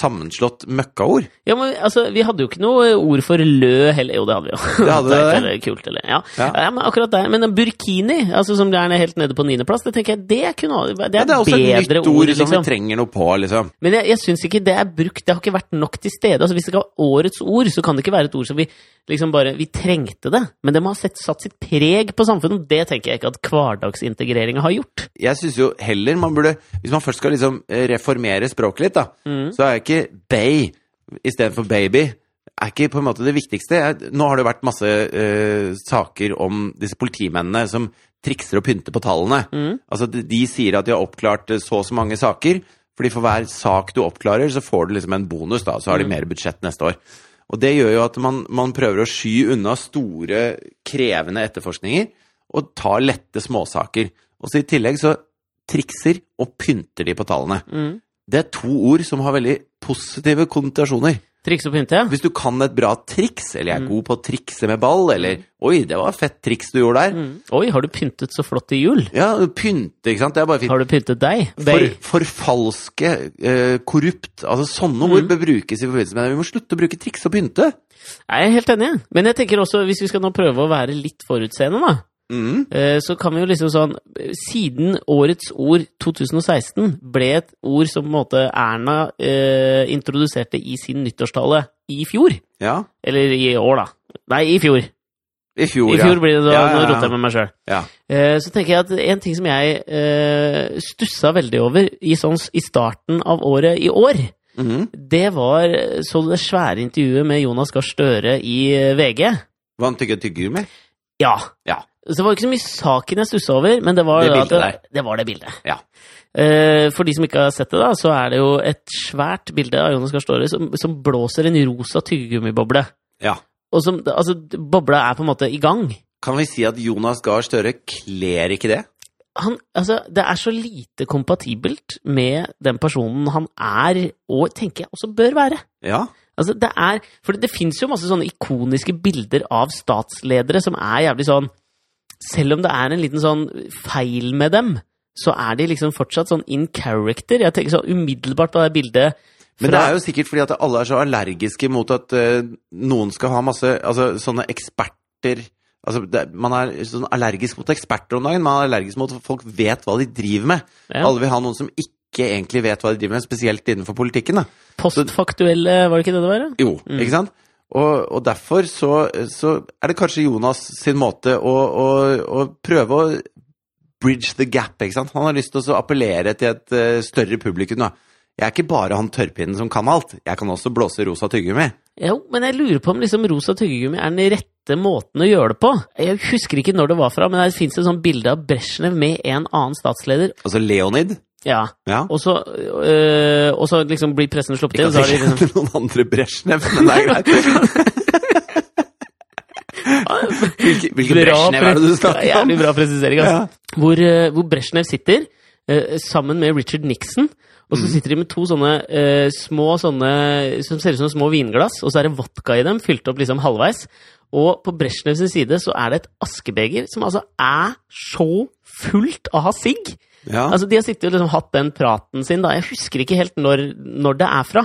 [SPEAKER 1] sammenslått møkkaord.
[SPEAKER 2] Ja, men altså, Vi hadde jo ikke noe ord for lø heller. Jo, det hadde vi jo.
[SPEAKER 1] Det hadde
[SPEAKER 2] er
[SPEAKER 1] det.
[SPEAKER 2] eller kult, eller, ja. Ja.
[SPEAKER 1] Ja.
[SPEAKER 2] Men akkurat der, men burkini, altså, som er helt nede på niendeplass, det tenker jeg det kunne Det er,
[SPEAKER 1] Ja, det er også et
[SPEAKER 2] bedre
[SPEAKER 1] nytt ord som
[SPEAKER 2] liksom.
[SPEAKER 1] vi trenger noe på, liksom.
[SPEAKER 2] Men jeg, jeg syns ikke det er brukt. Det har ikke vært nok til stede. Altså, Hvis det skal være årets ord, så kan det ikke være et ord som vi liksom bare Vi trengte det, men det må ha sett, satt sitt preg på samfunnet. og Det tenker jeg ikke at hverdagsintegreringa har gjort.
[SPEAKER 1] Jeg syns jo heller man burde Hvis man først skal liksom eh, reformere språket litt, da, så er ikke bay istedenfor baby er ikke på en måte det viktigste. Jeg, nå har det jo vært masse eh, saker om disse politimennene som trikser og pynter på tallene. Altså, de, de sier at de har oppklart eh, så og så mange saker, fordi for hver sak du oppklarer, så får du liksom en bonus, da, så har de mer budsjett neste år. Og det gjør jo at man, man prøver å sky unna store, krevende etterforskninger, og tar lette småsaker. Og så i tillegg så trikser og pynter de på tallene.
[SPEAKER 2] Mm.
[SPEAKER 1] Det er to ord som har veldig positive konnotasjoner.
[SPEAKER 2] Trikse og pynte?
[SPEAKER 1] Hvis du kan et bra triks, eller
[SPEAKER 2] Mm.
[SPEAKER 1] jeg er god på å trikse med ball, eller oi, det var et fett triks du gjorde der.
[SPEAKER 2] Mm. Oi, har du pyntet så flott til jul?
[SPEAKER 1] Ja, pynte, ikke sant? Det er bare fint.
[SPEAKER 2] Har du pyntet deg?
[SPEAKER 1] For,
[SPEAKER 2] Bay?
[SPEAKER 1] forfalske, eh, korrupt, altså sånne
[SPEAKER 2] Mm.
[SPEAKER 1] ord bør brukes i forbindelse med det. Vi må slutte å bruke triks og pynte.
[SPEAKER 2] Jeg er helt enig, jeg. men jeg tenker også, hvis vi skal nå prøve å være litt forutseende, da,
[SPEAKER 1] Mm.
[SPEAKER 2] eh, så kan vi jo liksom sånn eh, Siden årets ord 2016 ble et ord som på en måte Erna eh, introduserte i sin nyttårstale i fjor.
[SPEAKER 1] Ja,
[SPEAKER 2] Eller i år, da. Nei, i fjor.
[SPEAKER 1] i fjor,
[SPEAKER 2] I fjor blir det da,
[SPEAKER 1] Ja, ja, ja.
[SPEAKER 2] Nå roter jeg med meg sjøl.
[SPEAKER 1] ja.
[SPEAKER 2] Så tenker jeg at en ting som jeg eh, stussa veldig over i, sånn, s- i starten av året i år,
[SPEAKER 1] Ja. Mhm.
[SPEAKER 2] det var eh, så det svære intervjuet med Jonas Gahr Støre i eh, VG.
[SPEAKER 1] Vant ikke tyggegummi?
[SPEAKER 2] Ja.
[SPEAKER 1] Ja.
[SPEAKER 2] Så det var ikke så mye saken jeg stussa over, men det var
[SPEAKER 1] Det
[SPEAKER 2] da
[SPEAKER 1] bildet
[SPEAKER 2] at det, det var det bildet.
[SPEAKER 1] Ja.
[SPEAKER 2] Eh, for de som ikke har sett det, da, så er det jo et svært bilde av Jonas Gahr Støre som, som blåser en rosa tyggegummiboble.
[SPEAKER 1] Ja.
[SPEAKER 2] Og som, altså, bobla er på en måte i gang.
[SPEAKER 1] Kan vi si at Jonas Gahr Støre kler ikke det?
[SPEAKER 2] Han, altså, det er så lite kompatibelt med den personen han er, og tenker jeg også bør være.
[SPEAKER 1] Ja.
[SPEAKER 2] Altså, det er, for det finnes jo masse sånne ikoniske bilder av statsledere som er jævlig sånn Selv om det er en liten sånn feil med dem, så er de liksom fortsatt sånn in character. Jeg tenker sånn umiddelbart på det bildet.
[SPEAKER 1] Men
[SPEAKER 2] fra-
[SPEAKER 1] det er jo sikkert fordi at alle er så allergiske mot at eh, noen skal ha masse altså, sånne eksperter altså, det, Man er sånn allergisk mot eksperter om dagen. Man er allergisk mot at folk vet hva de driver med.
[SPEAKER 2] Ja.
[SPEAKER 1] Alle vil ha noen som ikke egentlig vet hva de driver med, spesielt innenfor politikken. da.
[SPEAKER 2] postfaktuelle, var det ikke det det var? da?
[SPEAKER 1] Jo, ikke sant? Og, og derfor så, så er det kanskje Jonas sin måte å, å, å prøve å bridge the gap, ikke sant? Han har lyst til å så appellere til et eh, større publikum, da. Jeg er ikke bare han tørrpinnen som kan alt, jeg kan også blåse rosa tyggegummi.
[SPEAKER 2] Jo, men jeg lurer på om liksom rosa tyggegummi er den rette måten å gjøre det på. Jeg husker ikke når det var fra, men det fins et sånt bilde av Brezjnev med en annen statsleder.
[SPEAKER 1] Altså Leonid.
[SPEAKER 2] Ja,
[SPEAKER 1] Ja.
[SPEAKER 2] Og så, øh, og så liksom blir pressen sluppet
[SPEAKER 1] Ikke at
[SPEAKER 2] inn, og så har de
[SPEAKER 1] jeg
[SPEAKER 2] liksom
[SPEAKER 1] kjenner noen andre Brezjnev, men det er greit. Hvilke, hvilke
[SPEAKER 2] Bra
[SPEAKER 1] Brezjnev er det du snakker
[SPEAKER 2] Ja,
[SPEAKER 1] om?
[SPEAKER 2] Jævlig bra presisering, altså. Hvor, eh, hvor Brezjnev sitter eh, sammen med Richard Nixon. Og
[SPEAKER 1] Mm.
[SPEAKER 2] så sitter de med to sånne eh, små sånne som ser ut som små vinglass, og så er det vodka i dem, fylt opp liksom halvveis. Og på Brezjnevs side så er det et askebeger som altså er så fullt av sigg.
[SPEAKER 1] Ja.
[SPEAKER 2] Altså, de har sittet og liksom hatt den praten sin, da. Jeg husker ikke helt når, når det er fra.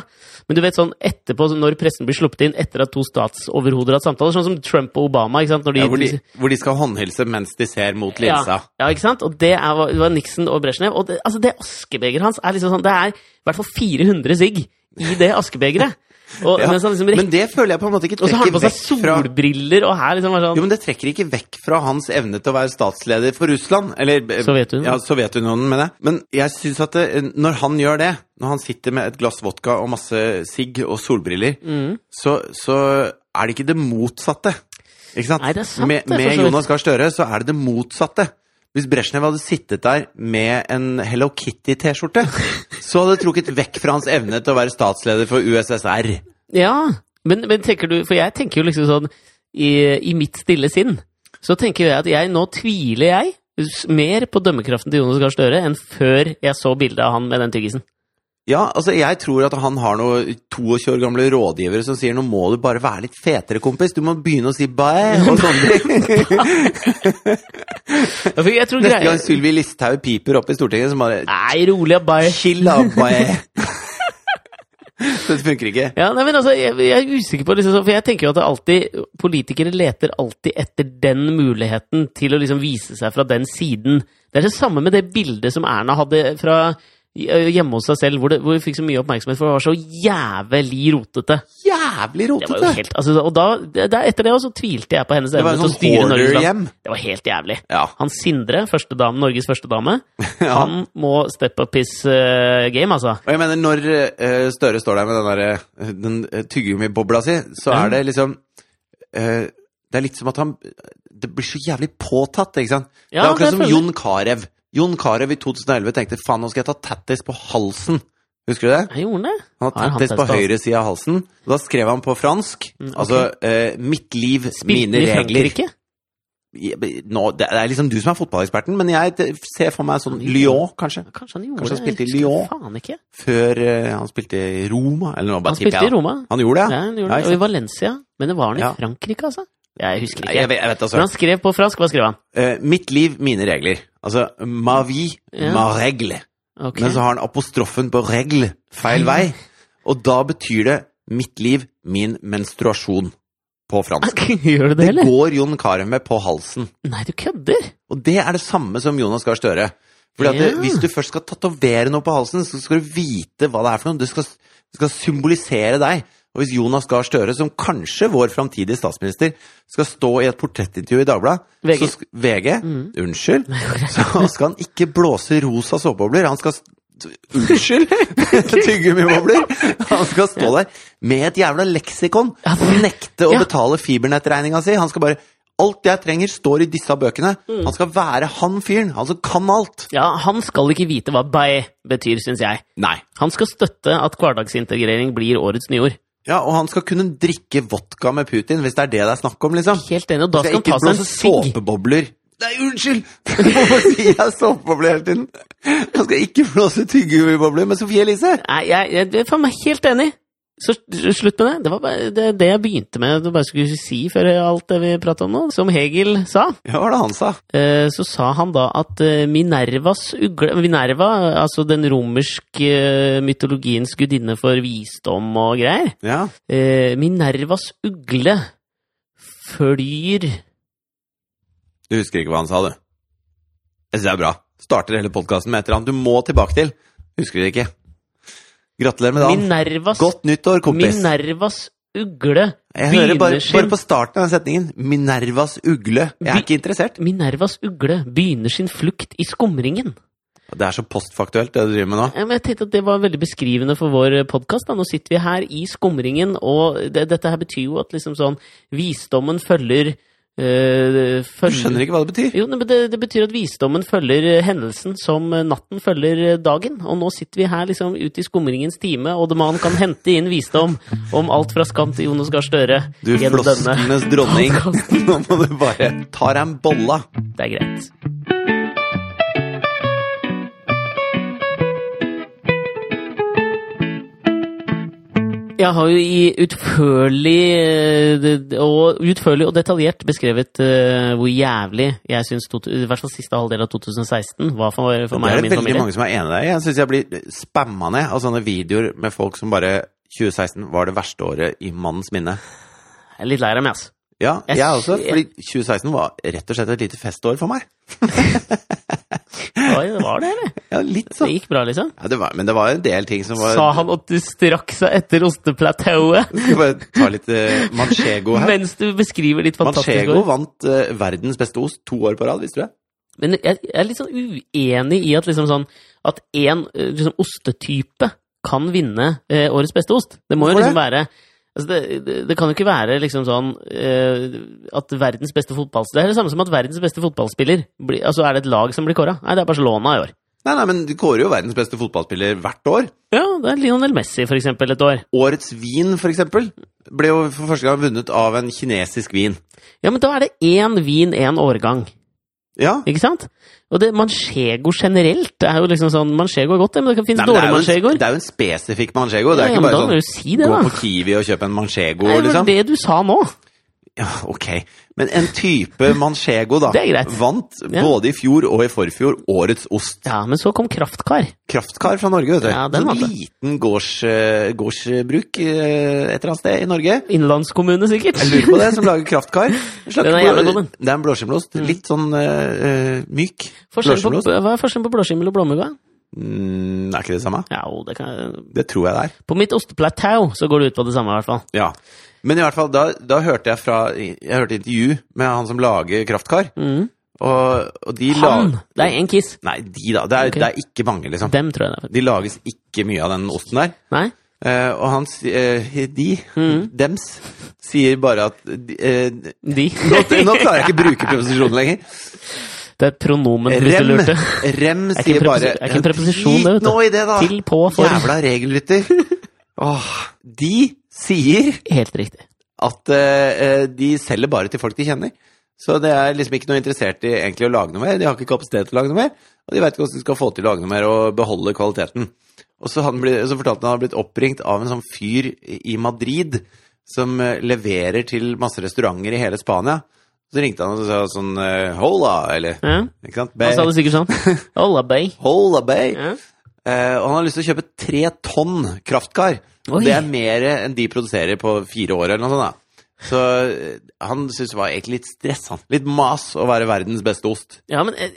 [SPEAKER 2] Men du vet sånn etterpå, så når pressen blir sluppet inn etter at to statsoverhoder har hatt samtaler, sånn som Trump og Obama, ikke sant. Når de,
[SPEAKER 1] Ja, hvor, de, hvor de skal håndhilse mens de ser mot linsa.
[SPEAKER 2] ja, ikke sant? Og det er, det var Nixon og Brezjnev. Og det, altså det askebegeret hans er liksom sånn Det er i hvert fall 400 sigg i det askebegeret. Og,
[SPEAKER 1] Ja.
[SPEAKER 2] mens han liksom
[SPEAKER 1] Men
[SPEAKER 2] rekker,
[SPEAKER 1] det føler jeg på en måte ikke
[SPEAKER 2] og så har han
[SPEAKER 1] trekker
[SPEAKER 2] på seg
[SPEAKER 1] vekk fra
[SPEAKER 2] solbriller, og her liksom var
[SPEAKER 1] jo,
[SPEAKER 2] sånn
[SPEAKER 1] men Det trekker ikke vekk fra hans evne til å være statsleder for Russland. Eller eh,
[SPEAKER 2] Sovjetunionen.
[SPEAKER 1] Ja, Sovjetunionen, mener jeg. Men jeg syns at det, eh, når han gjør det, når han sitter med et glass vodka og masse sigg og solbriller,
[SPEAKER 2] Mm.
[SPEAKER 1] så, så er det ikke det motsatte. Ikke sant?
[SPEAKER 2] Nei, det er sant, det,
[SPEAKER 1] med
[SPEAKER 2] for så
[SPEAKER 1] med
[SPEAKER 2] vidt.
[SPEAKER 1] Jonas Gahr Støre så er det det motsatte. Hvis Brezjnev hadde sittet der med en Hello Kitty-T-skjorte, så hadde det trukket vekk fra hans evne til å være statsleder for USSR.
[SPEAKER 2] Ja. Men, men tenker du For jeg tenker jo liksom sånn i, I mitt stille sinn så tenker jeg at jeg nå tviler jeg s- mer på dømmekraften til Jonas Gahr Støre enn før jeg så bildet av han med den tyggisen.
[SPEAKER 1] Ja, altså jeg tror at han har noen 22 år gamle rådgivere som sier nå må du bare være litt fetere, kompis. Du må begynne å si bye og sånne ting.
[SPEAKER 2] Jeg, fikk, jeg tror
[SPEAKER 1] Neste
[SPEAKER 2] greia
[SPEAKER 1] gang Sylvi Listhaug piper opp i Stortinget, så bare
[SPEAKER 2] Nei, rolig, abai.
[SPEAKER 1] chill out, bye. Dette funker ikke.
[SPEAKER 2] Ja, nei, men altså, jeg, jeg er usikker på liksom, For jeg tenker jo at det alltid, politikere leter alltid etter den muligheten til å liksom vise seg fra den siden. Det er det samme med det bildet som Erna hadde fra eh, hjemme hos seg selv, hvor, det, hvor hun fikk så mye oppmerksomhet, for det var så jævlig rotete.
[SPEAKER 1] Jævlig
[SPEAKER 2] Det var jo
[SPEAKER 1] rotete!
[SPEAKER 2] helt, altså, og da, det, det- etter det også tvilte jeg på hennes
[SPEAKER 1] var
[SPEAKER 2] evne
[SPEAKER 1] en
[SPEAKER 2] til å
[SPEAKER 1] sånn
[SPEAKER 2] styre Norges
[SPEAKER 1] hoarder-hjem.
[SPEAKER 2] land. Det var helt jævlig.
[SPEAKER 1] Ja.
[SPEAKER 2] Han Sindre, første dame, Norges første dame,
[SPEAKER 1] Ja.
[SPEAKER 2] han må step up his eh, game, altså.
[SPEAKER 1] Og jeg mener, når eh, Støre står der med den der eh, den eh, tyggegummibobla si, så
[SPEAKER 2] Ja.
[SPEAKER 1] er det liksom eh, Det er litt som at han Det blir så jævlig påtatt, ikke sant? det
[SPEAKER 2] Ja,
[SPEAKER 1] er akkurat
[SPEAKER 2] det
[SPEAKER 1] som
[SPEAKER 2] føler-
[SPEAKER 1] Jon Carew. Jon Carew i 2011 tenkte faen, nå skal jeg ta tattis på halsen. Husker du det?
[SPEAKER 2] Jeg gjorde det.
[SPEAKER 1] Han har
[SPEAKER 2] Har han Mm,
[SPEAKER 1] tattis på
[SPEAKER 2] tattis på
[SPEAKER 1] høyre side av halsen. Da skrev han på fransk. Altså eh, 'Mitt liv,
[SPEAKER 2] Spilte
[SPEAKER 1] mine
[SPEAKER 2] i
[SPEAKER 1] regler'.
[SPEAKER 2] Frankrike.
[SPEAKER 1] Ja, men Nå, det er liksom du som er fotballeksperten, men jeg t- ser for meg sånn
[SPEAKER 2] Han gjorde-
[SPEAKER 1] Lyon, kanskje.
[SPEAKER 2] Kanskje han gjorde
[SPEAKER 1] Kanskje han
[SPEAKER 2] det?
[SPEAKER 1] spilte i
[SPEAKER 2] Jeg husker
[SPEAKER 1] Lyon?
[SPEAKER 2] Faen ikke.
[SPEAKER 1] Før eh, han spilte i Roma, eller noe. bare
[SPEAKER 2] Han
[SPEAKER 1] tipper jeg,
[SPEAKER 2] spilte i
[SPEAKER 1] da.
[SPEAKER 2] Roma.
[SPEAKER 1] Han gjorde
[SPEAKER 2] Ja,
[SPEAKER 1] det?
[SPEAKER 2] han
[SPEAKER 1] Ja,
[SPEAKER 2] gjorde det.
[SPEAKER 1] ikke
[SPEAKER 2] Og
[SPEAKER 1] sant.
[SPEAKER 2] i Valencia. Men det var han i
[SPEAKER 1] Ja.
[SPEAKER 2] Frankrike, altså? Jeg husker
[SPEAKER 1] Nei, jeg
[SPEAKER 2] ikke.
[SPEAKER 1] vet, jeg vet altså.
[SPEAKER 2] Men han skrev på fransk. Hva skrev han?
[SPEAKER 1] Eh, mitt liv, mine regler. Altså ma vie,
[SPEAKER 2] Ja.
[SPEAKER 1] ma regle.
[SPEAKER 2] Ok.
[SPEAKER 1] Men så har han apostrofen på regle feil vei. Og da betyr det mitt liv, min menstruasjon på
[SPEAKER 2] Ah,
[SPEAKER 1] fransk.
[SPEAKER 2] Gjør du det,
[SPEAKER 1] Det
[SPEAKER 2] eller?
[SPEAKER 1] går Jon Carew med på halsen.
[SPEAKER 2] Nei, du kødder!
[SPEAKER 1] Og det er det samme som Jonas Gahr Støre. Fordi at det,
[SPEAKER 2] Ja.
[SPEAKER 1] Hvis du først skal tatovere noe på halsen, så skal du vite hva det er for noe. Det skal, det skal symbolisere deg. Og hvis Jonas Gahr Støre, som kanskje vår framtidige statsminister, skal stå i et portrettintervju i Dagbladet
[SPEAKER 2] VG.
[SPEAKER 1] så sk- VG Unnskyld. Så skal han ikke blåse rosa såpebobler. Han skal s- Unnskyld! Tyggegummibobler. Han skal stå der med et jævla leksikon og nekte å
[SPEAKER 2] Ja.
[SPEAKER 1] betale fibernettregninga si. Han skal bare Alt jeg trenger, står i disse bøkene.
[SPEAKER 2] Mm.
[SPEAKER 1] Han skal være han fyren. Han som kan alt.
[SPEAKER 2] Ja, han skal ikke vite hva bay betyr, syns jeg.
[SPEAKER 1] Nei.
[SPEAKER 2] Han skal støtte at hverdagsintegrering blir årets nyord.
[SPEAKER 1] Ja, og han skal kunne drikke vodka med Putin, hvis det er det det er snakk om, liksom.
[SPEAKER 2] Helt enig, og da
[SPEAKER 1] Skal
[SPEAKER 2] skal han
[SPEAKER 1] ikke
[SPEAKER 2] ta seg en
[SPEAKER 1] blåse
[SPEAKER 2] sigg.
[SPEAKER 1] såpebobler. Nei, unnskyld! Hvorfor sier jeg såpebobler hele tiden? Han skal ikke blåse tyggegummibobler med Sofie Elise.
[SPEAKER 2] Nei, jeg, jeg, jeg er faen meg helt enig! Så s- slutt med det. Det var bare det, det jeg begynte med, det bare skulle si før alt det vi prata om nå. Som Hegel sa,
[SPEAKER 1] Ja, hva var det han sa?
[SPEAKER 2] Eh, så sa han da at eh, Minervas ugle Minerva, altså den romerske eh, mytologiens gudinne for visdom og greier
[SPEAKER 1] Ja.
[SPEAKER 2] eh, Minervas ugle flyr
[SPEAKER 1] Du husker ikke hva han sa, du. Jeg synes det er bra. Starter hele podkasten med et eller annet du må tilbake til. Husker det ikke. Gratulerer med dagen.
[SPEAKER 2] Minervas,
[SPEAKER 1] Godt nyttår, kompis.
[SPEAKER 2] Minervas ugle
[SPEAKER 1] Jeg hører bare,
[SPEAKER 2] begynner
[SPEAKER 1] bare
[SPEAKER 2] sin
[SPEAKER 1] på starten av den setningen Minervas ugle. Jeg er
[SPEAKER 2] Vi-
[SPEAKER 1] ikke interessert.
[SPEAKER 2] Minervas ugle begynner sin flukt i skumringen.
[SPEAKER 1] Det er så postfaktuelt, det du driver med nå.
[SPEAKER 2] Ja, men Jeg tenkte at Det var veldig beskrivende for vår podkast. Nå sitter vi her i skumringen, og det, dette her betyr jo at liksom sånn visdommen følger øh,
[SPEAKER 1] Du skjønner ikke hva det betyr.
[SPEAKER 2] Jo, nei, men det, det betyr at visdommen følger eh, hendelsen som eh, natten følger eh, dagen. Og nå sitter vi her liksom ute i skumringens time, og man kan hente inn visdom om alt fra Skam til Jonas Gahr Støre.
[SPEAKER 1] Du
[SPEAKER 2] gjennom denne
[SPEAKER 1] flosklenes dronning.
[SPEAKER 2] podcasten.
[SPEAKER 1] Nå må du bare ta deg en bolla.
[SPEAKER 2] Det er greit. Jeg har jo i utførlig eh, det- det- og, utførlig og detaljert beskrevet eh, hvor jævlig jeg syns to- i hvert fall siste halvdel av 2016 var for, for
[SPEAKER 1] Det
[SPEAKER 2] meg
[SPEAKER 1] er
[SPEAKER 2] og
[SPEAKER 1] det
[SPEAKER 2] min
[SPEAKER 1] veldig
[SPEAKER 2] familie.
[SPEAKER 1] mange som er enig i deg. Jeg syns jeg blir spamma ned av sånne videoer med folk som bare 2016 var det verste året i mannens minne.
[SPEAKER 2] Jeg er litt lei av meg, altså.
[SPEAKER 1] Ja,
[SPEAKER 2] Jeg
[SPEAKER 1] jeg også,
[SPEAKER 2] ser-
[SPEAKER 1] fordi 2016 var rett og slett et lite festår for meg.
[SPEAKER 2] Oi, det var det, eller?
[SPEAKER 1] Ja, litt
[SPEAKER 2] Det
[SPEAKER 1] sånn.
[SPEAKER 2] gikk bra, liksom?
[SPEAKER 1] Ja, det var, men det var en del ting som var
[SPEAKER 2] Sa han at du strakk seg etter osteplatået
[SPEAKER 1] Skal bare ta litt eh, manchego her.
[SPEAKER 2] mens du beskriver ditt fantastiske
[SPEAKER 1] Manchego
[SPEAKER 2] år?
[SPEAKER 1] vant eh, verdens beste ost to år på rad, visste du det?
[SPEAKER 2] Men jeg, jeg er litt sånn uenig i at liksom sånn At én liksom, ostetype kan vinne eh, årets beste ost. Det må jo
[SPEAKER 1] Hvorfor
[SPEAKER 2] liksom være Altså det, det, det kan jo ikke være liksom sånn eh, at verdens beste fotballspiller Det er det samme som at verdens beste fotballspiller blir, Altså er det et lag som blir kåra. Nei, det er Barcelona i år.
[SPEAKER 1] Nei, nei, men du kårer jo verdens beste fotballspiller hvert år.
[SPEAKER 2] Ja, det er Lionel Messi, for eksempel, et år.
[SPEAKER 1] Årets vin, for eksempel, ble jo for første gang vunnet av en kinesisk vin.
[SPEAKER 2] Ja, men da er det én vin, én årgang.
[SPEAKER 1] Ja.
[SPEAKER 2] Ikke sant? Og det, manchego generelt det er jo liksom sånn Manchego er godt, det, men det kan finnes
[SPEAKER 1] Nei, men det,
[SPEAKER 2] dårlige
[SPEAKER 1] er jo en,
[SPEAKER 2] manchegoer.
[SPEAKER 1] det er jo en spesifikk manchego. Det
[SPEAKER 2] Ja,
[SPEAKER 1] er
[SPEAKER 2] ja,
[SPEAKER 1] ikke
[SPEAKER 2] men
[SPEAKER 1] bare
[SPEAKER 2] da må
[SPEAKER 1] sånn
[SPEAKER 2] du si
[SPEAKER 1] gå
[SPEAKER 2] det, da.
[SPEAKER 1] på Kiwi og kjøpe en manchego,
[SPEAKER 2] Det er jo
[SPEAKER 1] liksom.
[SPEAKER 2] det du sa nå!
[SPEAKER 1] Ja, ok. Men en type manchego, da,
[SPEAKER 2] Det er greit.
[SPEAKER 1] vant
[SPEAKER 2] Ja.
[SPEAKER 1] både i fjor og i forfjor årets ost.
[SPEAKER 2] Ja, men så kom kraftkar.
[SPEAKER 1] Kraftkar fra Norge, vet du.
[SPEAKER 2] Ja, den
[SPEAKER 1] sånn
[SPEAKER 2] vant det.
[SPEAKER 1] liten gårds, eh, gårdsbruk eh, et eller annet sted i Norge.
[SPEAKER 2] Innlandskommune, sikkert.
[SPEAKER 1] Jeg lurer på det, som lager kraftkar. En slags
[SPEAKER 2] Den er jævlig god, den.
[SPEAKER 1] Det er en blåskimmelost. Litt sånn eh, eh, myk.
[SPEAKER 2] Forskjell på,
[SPEAKER 1] Blåskimmelost.
[SPEAKER 2] hva er forskjellen på blåskimmel og blåmugga?
[SPEAKER 1] Mm, er ikke det samme?
[SPEAKER 2] Ja, jo, det kan
[SPEAKER 1] Det tror jeg det er.
[SPEAKER 2] På mitt osteplateau så går det ut på det samme, i hvert fall.
[SPEAKER 1] Ja. Men i hvert fall, da, da hørte jeg fra Jeg hørte intervju med han som lager kraftkar. Og, og de
[SPEAKER 2] Mm. Han!
[SPEAKER 1] la-
[SPEAKER 2] Det er én kiss.
[SPEAKER 1] Nei, de, da. Det er,
[SPEAKER 2] Ok.
[SPEAKER 1] det er ikke mange, liksom.
[SPEAKER 2] Dem, tror jeg det er.
[SPEAKER 1] De lages ikke mye av den osten der.
[SPEAKER 2] Nei?
[SPEAKER 1] Eh, og han si- eh, De,
[SPEAKER 2] Mm.
[SPEAKER 1] dems, sier bare at de, eh, nå,
[SPEAKER 2] De.
[SPEAKER 1] nå klarer jeg ikke å bruke preposisjonen lenger.
[SPEAKER 2] Det er et pronomen, hvis du
[SPEAKER 1] Rem,
[SPEAKER 2] lurte.
[SPEAKER 1] rem
[SPEAKER 2] Er ikke
[SPEAKER 1] sier
[SPEAKER 2] en preposi-
[SPEAKER 1] bare
[SPEAKER 2] er ikke en preposisjon, det, vet
[SPEAKER 1] Drit
[SPEAKER 2] du.
[SPEAKER 1] nå i det, da!
[SPEAKER 2] Til, på, for.
[SPEAKER 1] Jævla regelrytter. Åh, de sier
[SPEAKER 2] Helt riktig.
[SPEAKER 1] at eh, eh, de selger bare til folk de kjenner. Så det er liksom ikke noe interessert i egentlig å lage noe mer. De har ikke kapasitet til å lage noe mer, og de veit ikke hvordan de skal få til å lage noe mer og beholde kvaliteten. Og så, han ble, så fortalte han at han hadde blitt oppringt av en sånn fyr i i Madrid som eh, leverer til masse restauranter i hele Spania. Så ringte han og sa sånn eh, Hola, eller
[SPEAKER 2] Ja.
[SPEAKER 1] ikke sant?
[SPEAKER 2] Han sa
[SPEAKER 1] Bay.
[SPEAKER 2] det sikkert sånn. Olla bay.
[SPEAKER 1] Hola, bay.
[SPEAKER 2] Ja.
[SPEAKER 1] Eh, og han har lyst til å kjøpe tre tonn kraftkar.
[SPEAKER 2] Oi.
[SPEAKER 1] Og det er mer enn de produserer på fire år eller noe sånt. da. Så eh, han syntes det var egentlig litt stressende. Litt mas å være verdens beste ost.
[SPEAKER 2] Ja, men eh,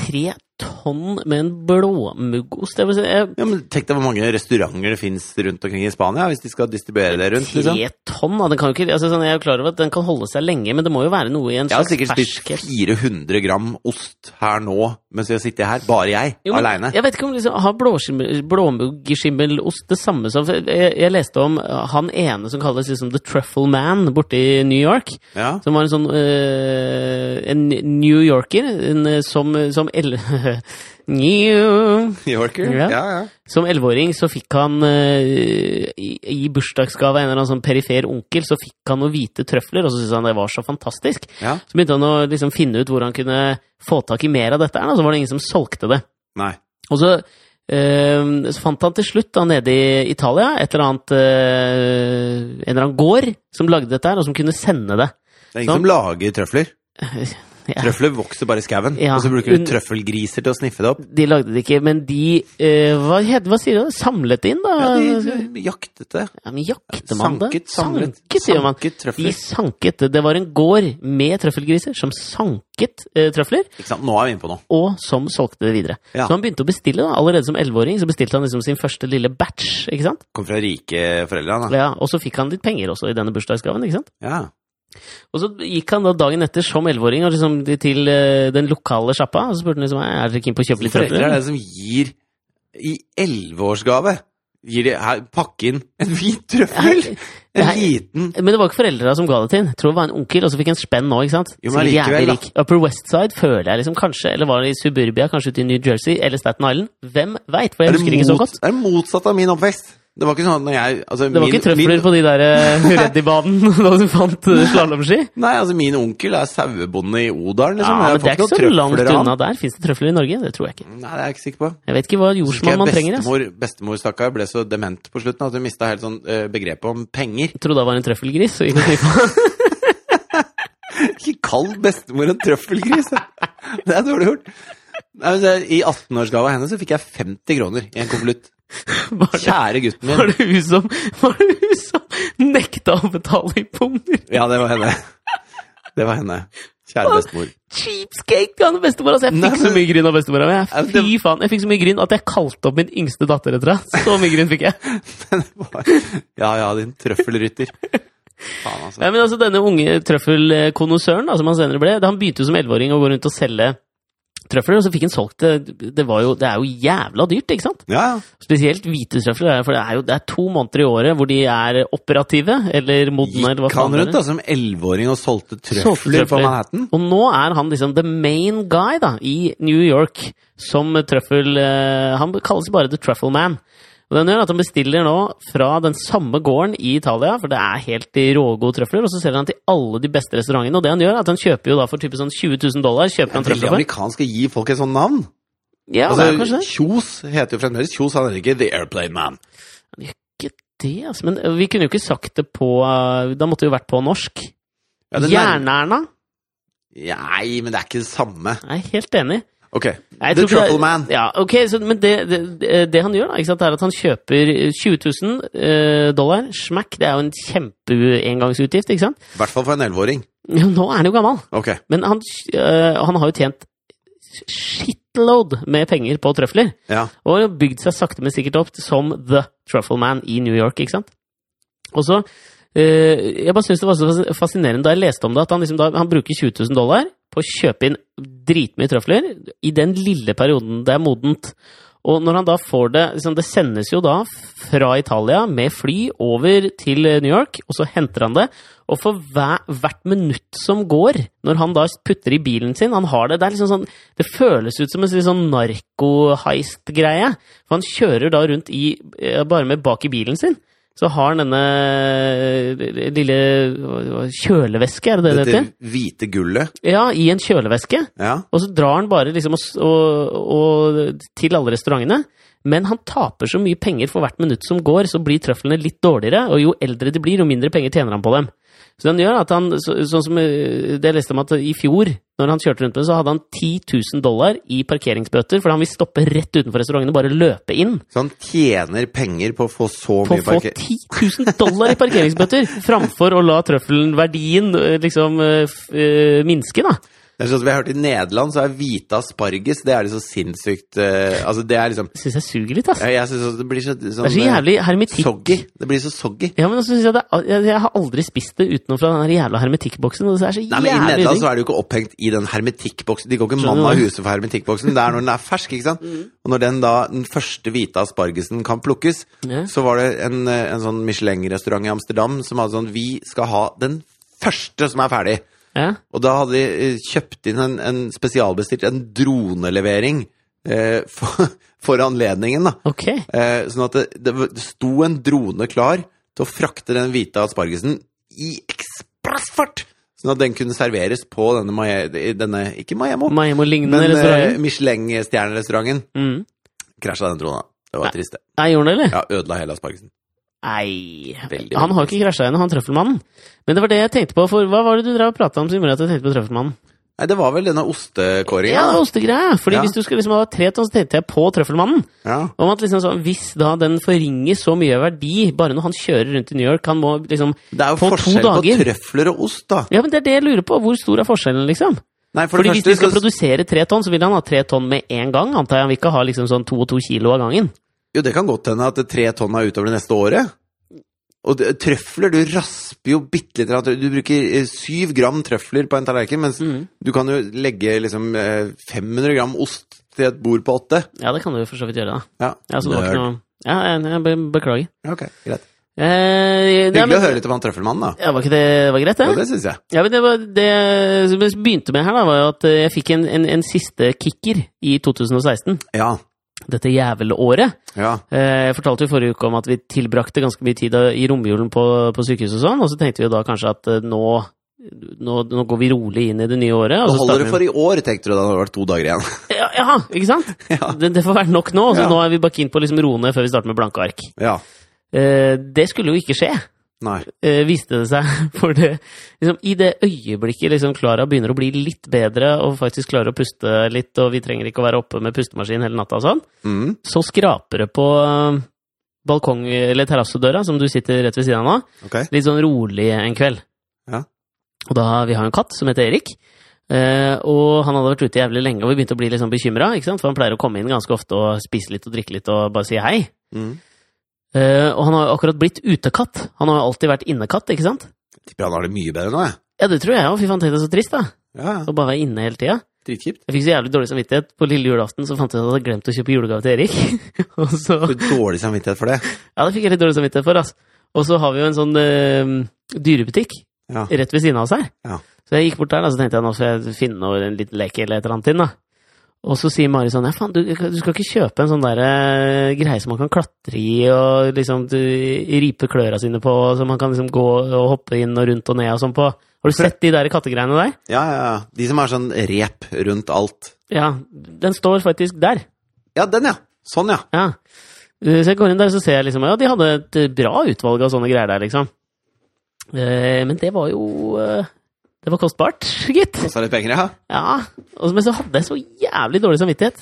[SPEAKER 2] tre tonn med en blåmuggost jeg vil si, eh,
[SPEAKER 1] Ja, men Tenk deg hvor mange restauranter det fins rundt omkring i Spania hvis de skal distribuere det rundt. liksom.
[SPEAKER 2] Tre tonn? Da, den kan jo ikke, altså, sånn, jeg er jo klar over at den kan holde seg lenge, men det må jo være noe i en
[SPEAKER 1] Jeg har
[SPEAKER 2] slags
[SPEAKER 1] sikkert spist
[SPEAKER 2] ferskhet.
[SPEAKER 1] 400 gram ost her nå mens jeg sitter her. Bare jeg.
[SPEAKER 2] Jo, men
[SPEAKER 1] Aleine.
[SPEAKER 2] Jeg vet ikke om liksom, Har blåskimmel- blåmuggskimmelost det samme som for jeg, jeg leste om eh, han ene som kalles liksom The Truffle Man borte i New York.
[SPEAKER 1] Ja.
[SPEAKER 2] Som var en sånn eh, En New Yorker en, eh, som, som, el New,
[SPEAKER 1] New Yorker.
[SPEAKER 2] Ja.
[SPEAKER 1] Ja, ja.
[SPEAKER 2] som 11-åring så fikk han eh, i, i bursdagsgave av en eller annen sånn perifer onkel, så fikk han noen hvite trøfler, og så syntes han det var så fantastisk.
[SPEAKER 1] ja.
[SPEAKER 2] Så begynte han å liksom finne ut hvor han kunne få tak i mer av dette, her, da, så var det ingen som solgte det.
[SPEAKER 1] Nei.
[SPEAKER 2] Og så, eh, så fant han til slutt da nede i Italia et eller annet, eh, en eller annen gård som lagde dette her, og som kunne sende det.
[SPEAKER 1] Det er ingen som lager trøfler.
[SPEAKER 2] Ja.
[SPEAKER 1] Trøfler vokser bare i skauen.
[SPEAKER 2] Ja.
[SPEAKER 1] Og så bruker
[SPEAKER 2] Un-
[SPEAKER 1] du trøffelgriser til å sniffe det opp.
[SPEAKER 2] De lagde det ikke, men de eh, hva, het, hva sier du? Samlet inn, da?
[SPEAKER 1] Ja, de de jaktet det.
[SPEAKER 2] Ja, men jakter man
[SPEAKER 1] Sanket,
[SPEAKER 2] det?
[SPEAKER 1] samlet.
[SPEAKER 2] Sanket, gjør man.
[SPEAKER 1] Sanket trøfler.
[SPEAKER 2] De sanket det. Det var en gård med trøffelgriser som sanket eh, trøfler,
[SPEAKER 1] Ikke sant? Nå er vi inne på noe.
[SPEAKER 2] og som solgte det videre.
[SPEAKER 1] Ja.
[SPEAKER 2] Så han begynte å bestille. da. Allerede som 11-åring så bestilte han liksom sin første lille batch. ikke sant?
[SPEAKER 1] Kom fra rike foreldre, han da.
[SPEAKER 2] Ja, Og så fikk han litt penger også i denne bursdagsgaven. ikke sant?
[SPEAKER 1] Ja.
[SPEAKER 2] Og så gikk han da dagen etter som 11-åring og liksom til eh, den lokale sjappa og så spurte han liksom, er dere keen på å kjøpe litt
[SPEAKER 1] Foreldre
[SPEAKER 2] trøfler.
[SPEAKER 1] er det som gir i elleveårsgave Gir de her Pakke inn en hvit trøffel!
[SPEAKER 2] Nei,
[SPEAKER 1] En
[SPEAKER 2] nei.
[SPEAKER 1] liten
[SPEAKER 2] Men det var ikke foreldra som ga det til. Jeg tror det var en onkel, og så fikk han spenn nå. ikke sant?
[SPEAKER 1] Jo, men
[SPEAKER 2] Sikkert
[SPEAKER 1] allikevel,
[SPEAKER 2] jævlig rik. Upper West Side føler jeg liksom kanskje, eller var det i Suburbia, kanskje ute i New Jersey, eller Staten Island. Hvem veit, for jeg
[SPEAKER 1] er det,
[SPEAKER 2] husker ikke så
[SPEAKER 1] mot-
[SPEAKER 2] godt.
[SPEAKER 1] er det motsatt av min oppvekst? Det var ikke sånn at når jeg altså,
[SPEAKER 2] Det var
[SPEAKER 1] min,
[SPEAKER 2] ikke trøfler
[SPEAKER 1] min,
[SPEAKER 2] på de der eh, Reddy-banen da du fant eh, slalåmski?
[SPEAKER 1] Nei, altså min onkel er sauebonde i Odalen,
[SPEAKER 2] Ja,
[SPEAKER 1] liksom.
[SPEAKER 2] men
[SPEAKER 1] Jeg har
[SPEAKER 2] det er
[SPEAKER 1] fått
[SPEAKER 2] ikke så
[SPEAKER 1] noen
[SPEAKER 2] langt
[SPEAKER 1] trøfler av han.
[SPEAKER 2] unna der. Fins det trøfler i Norge? Det tror jeg ikke.
[SPEAKER 1] Nei, det er jeg ikke sikker på.
[SPEAKER 2] Jeg vet ikke hva
[SPEAKER 1] Husker jeg
[SPEAKER 2] jordsmonn man trenger. Altså.
[SPEAKER 1] bestemor, bestemor stakkar, ble så dement på slutten at hun mista helt sånn eh, begrepet om penger.
[SPEAKER 2] Jeg trodde han var en trøffelgris. Så gikk jeg glipp av
[SPEAKER 1] Ikke kall bestemor en trøffelgris! da. Det er dårlig gjort. Nei, men det- I 18-årsgava hennes så fikk jeg 50 kroner i en konvolutt.
[SPEAKER 2] Var det-
[SPEAKER 1] Kjære gutten min.
[SPEAKER 2] Var det hun som, var det hun som nekta å betale i pumper?
[SPEAKER 1] Ja, det var henne. Det var henne. Kjære bestemor.
[SPEAKER 2] Cheapskate! Ja, bestemora, altså, jeg
[SPEAKER 1] Nei,
[SPEAKER 2] fikk så
[SPEAKER 1] men-
[SPEAKER 2] mye gryn av bestemora mi.
[SPEAKER 1] Ja,
[SPEAKER 2] jeg.
[SPEAKER 1] men det-
[SPEAKER 2] Fy faen, jeg fikk så mye gryn at jeg kalte opp min yngste datter etter henne. Så mye gryn fikk jeg.
[SPEAKER 1] Ja ja, din trøffelrytter. Faen, altså.
[SPEAKER 2] Nei, men altså, denne unge trøffelkonosøren, da, som han senere ble, da han begynte jo som 11-åring å gå rundt og selge trøfler, og så fikk han solgt det. Det, var jo, det er jo jævla dyrt, ikke sant?
[SPEAKER 1] Ja, ja.
[SPEAKER 2] Spesielt hvite trøfler, for det er jo det er to måneder i året hvor de er operative, eller modne, eller hva
[SPEAKER 1] Gikk han
[SPEAKER 2] faen det er.
[SPEAKER 1] rundt da som 11-åring og solgte
[SPEAKER 2] Solgte
[SPEAKER 1] trøfler på
[SPEAKER 2] trøfler.
[SPEAKER 1] Manhattan?
[SPEAKER 2] Og nå er han liksom the main guy da, i New York som trøffel... eh, han kalles bare The Truffle Man. Og den gjør at han bestiller nå fra den samme gården i Italia, for det er helt i rågode trøfler, og så selger han til alle de beste restaurantene. Og det han gjør, er at han kjøper jo da for type sånn 20 000 dollar. kjøper han
[SPEAKER 1] Det er veldig
[SPEAKER 2] trøfler for.
[SPEAKER 1] amerikansk å gi folk et sånt navn.
[SPEAKER 2] Ja, det er kanskje
[SPEAKER 1] Altså,
[SPEAKER 2] det.
[SPEAKER 1] Kjos heter jo fremdeles Kjos, han er ikke The Airplane Man.
[SPEAKER 2] Det er ikke det, altså. Men vi kunne jo ikke sagt det på eh, Da måtte det jo vært på norsk.
[SPEAKER 1] Ja, det nærmer-
[SPEAKER 2] Jernerna?
[SPEAKER 1] Nei, men det er ikke det samme.
[SPEAKER 2] Jeg er helt enig.
[SPEAKER 1] Ok,
[SPEAKER 2] Nei,
[SPEAKER 1] The
[SPEAKER 2] jeg tror ikke det-
[SPEAKER 1] Truffle Man.
[SPEAKER 2] Ja, ok, så, Men det, det, det han gjør, da, ikke sant, er at han kjøper eh, 20 000 eh, dollar. Smack, det er jo en kjempeengangsutgift, ikke sant?
[SPEAKER 1] I hvert fall for en 11-åring.
[SPEAKER 2] Jo, Nå er han jo gammel,
[SPEAKER 1] Ok,
[SPEAKER 2] men han, eh, han har jo tjent shitload med penger på trøfler.
[SPEAKER 1] ja.
[SPEAKER 2] Og har bygd seg sakte, men sikkert opp som The Truffle Man i New York, ikke sant? Og så eh, Jeg bare syns det var så fas- fascinerende da jeg leste om det, at han, liksom da, han bruker 20 000 dollar på å kjøpe inn dritmye trøfler i den lille perioden det er modent. Og når han da får det liksom Det sendes jo da fra Italia med fly over til eh, New York, og så henter han det. Og for hver, hvert minutt som går, når han da putter i bilen sin Han har det Det er liksom sånn Det føles ut som en sånn narkoheist-greie. For han kjører da rundt i eh, Bare med bak i bilen sin. Så har han denne eh, lille hva- hva- kjøleveske, er det det det heter?
[SPEAKER 1] Dette hvite gullet.
[SPEAKER 2] Ja, i en kjøleveske.
[SPEAKER 1] Ja.
[SPEAKER 2] Og så drar han bare liksom og, s- og, og, til alle restaurantene. Men han taper så mye penger for hvert minutt som går, så blir trøflene litt dårligere. Og jo eldre de blir, jo mindre penger tjener han på dem. Så han gjør at han, så, sånn som eh, det jeg leste om at i fjor, når han kjørte rundt med det, så hadde han 10 000 dollar i parkeringsbøter, fordi han vil stoppe rett utenfor restauranten og bare løpe inn.
[SPEAKER 1] Så han tjener penger på å få så
[SPEAKER 2] På
[SPEAKER 1] mye
[SPEAKER 2] å få
[SPEAKER 1] parker...
[SPEAKER 2] 10 000 dollar i parkeringsbøter, framfor å la trøffelen, verdien, eh, liksom eh, f- eh, minske, da.
[SPEAKER 1] Det er sånn som jeg har hørt I Nederland så er hvite asparges Det er liksom sinnssykt eh, Altså det er liksom
[SPEAKER 2] Syns jeg suger litt, ass.
[SPEAKER 1] Jeg, jeg synes det blir så sånn,
[SPEAKER 2] Det er så
[SPEAKER 1] eh,
[SPEAKER 2] jævlig hermetikk.
[SPEAKER 1] Soggy. Det blir så soggy.
[SPEAKER 2] Ja, men også synes jeg, det, er- jeg, jeg har aldri spist det utenom fra den her jævla hermetikkboksen. Og det er så
[SPEAKER 1] Nei, men I altså.
[SPEAKER 2] jævlig
[SPEAKER 1] Nederland
[SPEAKER 2] digg.
[SPEAKER 1] så er det jo ikke opphengt i den hermetikkboksen. De går ikke
[SPEAKER 2] Skjønner
[SPEAKER 1] mann
[SPEAKER 2] du Mm.
[SPEAKER 1] av
[SPEAKER 2] hva?
[SPEAKER 1] huset for hermetikkboksen. Det er når den er fersk, ikke sant. Og når den da, den første hvite aspargesen kan plukkes,
[SPEAKER 2] Ja.
[SPEAKER 1] så var det en, eh, en sånn Michelin-restaurant i Amsterdam som hadde sånn Vi skal ha den første som er ferdig.
[SPEAKER 2] Ja.
[SPEAKER 1] Og da hadde de eh, kjøpt inn en, en spesialbestilt, en dronelevering, eh, for, for anledningen, da.
[SPEAKER 2] Ok.
[SPEAKER 1] Eh, sånn at det, det, var- det sto en drone klar til å frakte den hvite aspargesen i ekspressfart! Sånn at den kunne serveres på denne, Maje- i denne ikke Maemo,
[SPEAKER 2] Maimo-lignende
[SPEAKER 1] men eh,
[SPEAKER 2] restaurant.
[SPEAKER 1] Michelin-stjernerestauranten.
[SPEAKER 2] Mm.
[SPEAKER 1] Krasja den drona. Det var
[SPEAKER 2] Nei.
[SPEAKER 1] trist, det.
[SPEAKER 2] Nei, gjorde han det, eller?
[SPEAKER 1] Ja, ødela hele aspargesen.
[SPEAKER 2] Nei.
[SPEAKER 1] Veldig,
[SPEAKER 2] Han har jo ikke krasja ennå, han trøffelmannen. Men det var det jeg tenkte på, for hva var det du drev og prata om som gjorde at jeg tenkte på trøffelmannen?
[SPEAKER 1] Nei, det var vel denne ostekåringa.
[SPEAKER 2] Ja, det var ostegreia! Fordi
[SPEAKER 1] Ja.
[SPEAKER 2] hvis du skulle liksom ha tre tonn, så tenkte jeg på trøffelmannen.
[SPEAKER 1] Ja.
[SPEAKER 2] Om at liksom sånn, Hvis da den forringer så mye verdi, bare når han kjører rundt i New York, han må liksom
[SPEAKER 1] Det er jo
[SPEAKER 2] På to
[SPEAKER 1] forskjell på
[SPEAKER 2] dager.
[SPEAKER 1] trøfler og ost, da.
[SPEAKER 2] Ja, men det er det jeg lurer på. Hvor stor er forskjellen, liksom?
[SPEAKER 1] Nei, for
[SPEAKER 2] Fordi
[SPEAKER 1] det
[SPEAKER 2] Hvis de
[SPEAKER 1] første
[SPEAKER 2] skal
[SPEAKER 1] så
[SPEAKER 2] produsere tre tonn, så vil han ha tre tonn med en gang. antar jeg Han vil ikke ha liksom sånn to og to kilo av gangen.
[SPEAKER 1] Jo, det kan godt hende at det tre tonn er utover det neste året. Og det, trøfler, du rasper jo bitte litt. Du bruker eh, syv gram trøfler på en tallerken, mens
[SPEAKER 2] Mm.
[SPEAKER 1] du kan jo legge liksom eh, 500 gram ost til et bord på åtte.
[SPEAKER 2] Ja, det kan du jo for så vidt gjøre, da.
[SPEAKER 1] Ja,
[SPEAKER 2] Ja, så det var ikke
[SPEAKER 1] Nerd.
[SPEAKER 2] noe... Ja, jeg, jeg be- beklager.
[SPEAKER 1] Ja, Ok, greit.
[SPEAKER 2] Eh,
[SPEAKER 1] Hyggelig
[SPEAKER 2] nei, men-
[SPEAKER 1] å høre litt om han trøffelmannen, da.
[SPEAKER 2] Ja, var ikke det var greit, det?
[SPEAKER 1] Ja, det syns jeg.
[SPEAKER 2] Ja, men det, var, det som jeg begynte med her, da, var jo at eh, jeg fikk en, en, en siste kicker i 2016.
[SPEAKER 1] Ja.
[SPEAKER 2] Dette jævelåret.
[SPEAKER 1] ja.
[SPEAKER 2] Eh, Jeg fortalte jo forrige uke om at vi tilbrakte ganske mye tid i romjulen på, på sykehuset og sånn, og så tenkte vi jo da kanskje at eh, nå, nå, nå går vi rolig inn i det nye
[SPEAKER 1] Så
[SPEAKER 2] året. Og så
[SPEAKER 1] holder
[SPEAKER 2] starter
[SPEAKER 1] det
[SPEAKER 2] vi-
[SPEAKER 1] for i år, tenkte du da. Det har vært to dager igjen.
[SPEAKER 2] Ja, ja ikke sant?
[SPEAKER 1] Ja.
[SPEAKER 2] Det, det får være nok nå. Så
[SPEAKER 1] Ah. Ja.
[SPEAKER 2] nå er vi bakke inn på liksom roe ned før vi starter med blanke ark.
[SPEAKER 1] ja.
[SPEAKER 2] Eh, det skulle jo ikke skje,
[SPEAKER 1] Nei.
[SPEAKER 2] eh, viste det seg. For det, liksom, i det øyeblikket liksom Klara begynner å bli litt bedre og faktisk klarer å puste litt, og vi trenger ikke å være oppe med pustemaskin hele natta og sånn,
[SPEAKER 1] Mm.
[SPEAKER 2] så skraper det på eh, balkong- eller terrassedøra, som du sitter rett ved siden av nå,
[SPEAKER 1] Ok.
[SPEAKER 2] litt sånn rolig en kveld.
[SPEAKER 1] Ja.
[SPEAKER 2] Og da, vi har en katt som heter Erik, eh, og han hadde vært ute jævlig lenge, og vi begynte å bli litt sånn bekymra, ikke sant, for han pleier å komme inn ganske ofte og spise litt og drikke litt og bare si hei.
[SPEAKER 1] Mm.
[SPEAKER 2] Eh, og han har jo akkurat blitt utekatt, han har jo alltid vært innekatt, ikke sant?
[SPEAKER 1] Tipper han har det mye bedre nå, jeg.
[SPEAKER 2] Ja, det tror jeg jo, fy faen, tenk deg så trist, da,
[SPEAKER 1] Ja, ja.
[SPEAKER 2] å bare være inne hele tida.
[SPEAKER 1] Dritkjipt.
[SPEAKER 2] Jeg fikk så jævlig dårlig samvittighet. På lille julaften så fant jeg ut at jeg hadde glemt å kjøpe julegave til Erik. og så
[SPEAKER 1] Du har Dårlig samvittighet for det.
[SPEAKER 2] Ja, det fikk jeg litt dårlig samvittighet for, ass. Og så har vi jo en sånn eh, dyrebutikk
[SPEAKER 1] Ja.
[SPEAKER 2] rett ved siden av oss her.
[SPEAKER 1] Ja.
[SPEAKER 2] Så jeg gikk bort der, da, så tenkte jeg nå skal jeg finne noe, en liten leke eller et eller annet inn, da. Og så sier Mari sånn Ja, faen, du, du skal ikke kjøpe en sånn der eh, greie som man kan klatre i og liksom du, ripe kløra sine på, så man kan liksom gå og hoppe inn og rundt og ned og sånn på. Har du sett de der kattegreiene der?
[SPEAKER 1] Ja, ja, ja. De som er sånn rep rundt alt.
[SPEAKER 2] Ja, den står faktisk der.
[SPEAKER 1] Ja, den, ja. Sånn, ja.
[SPEAKER 2] Ja. Eh, Så jeg går inn der, så ser jeg liksom Ja, de hadde et eh, bra utvalg av sånne greier der, liksom. Eh, Men det var jo eh, Det var kostbart, gitt.
[SPEAKER 1] Kosta litt penger, ja.
[SPEAKER 2] Ja, og, men så hadde jeg så jævlig dårlig samvittighet.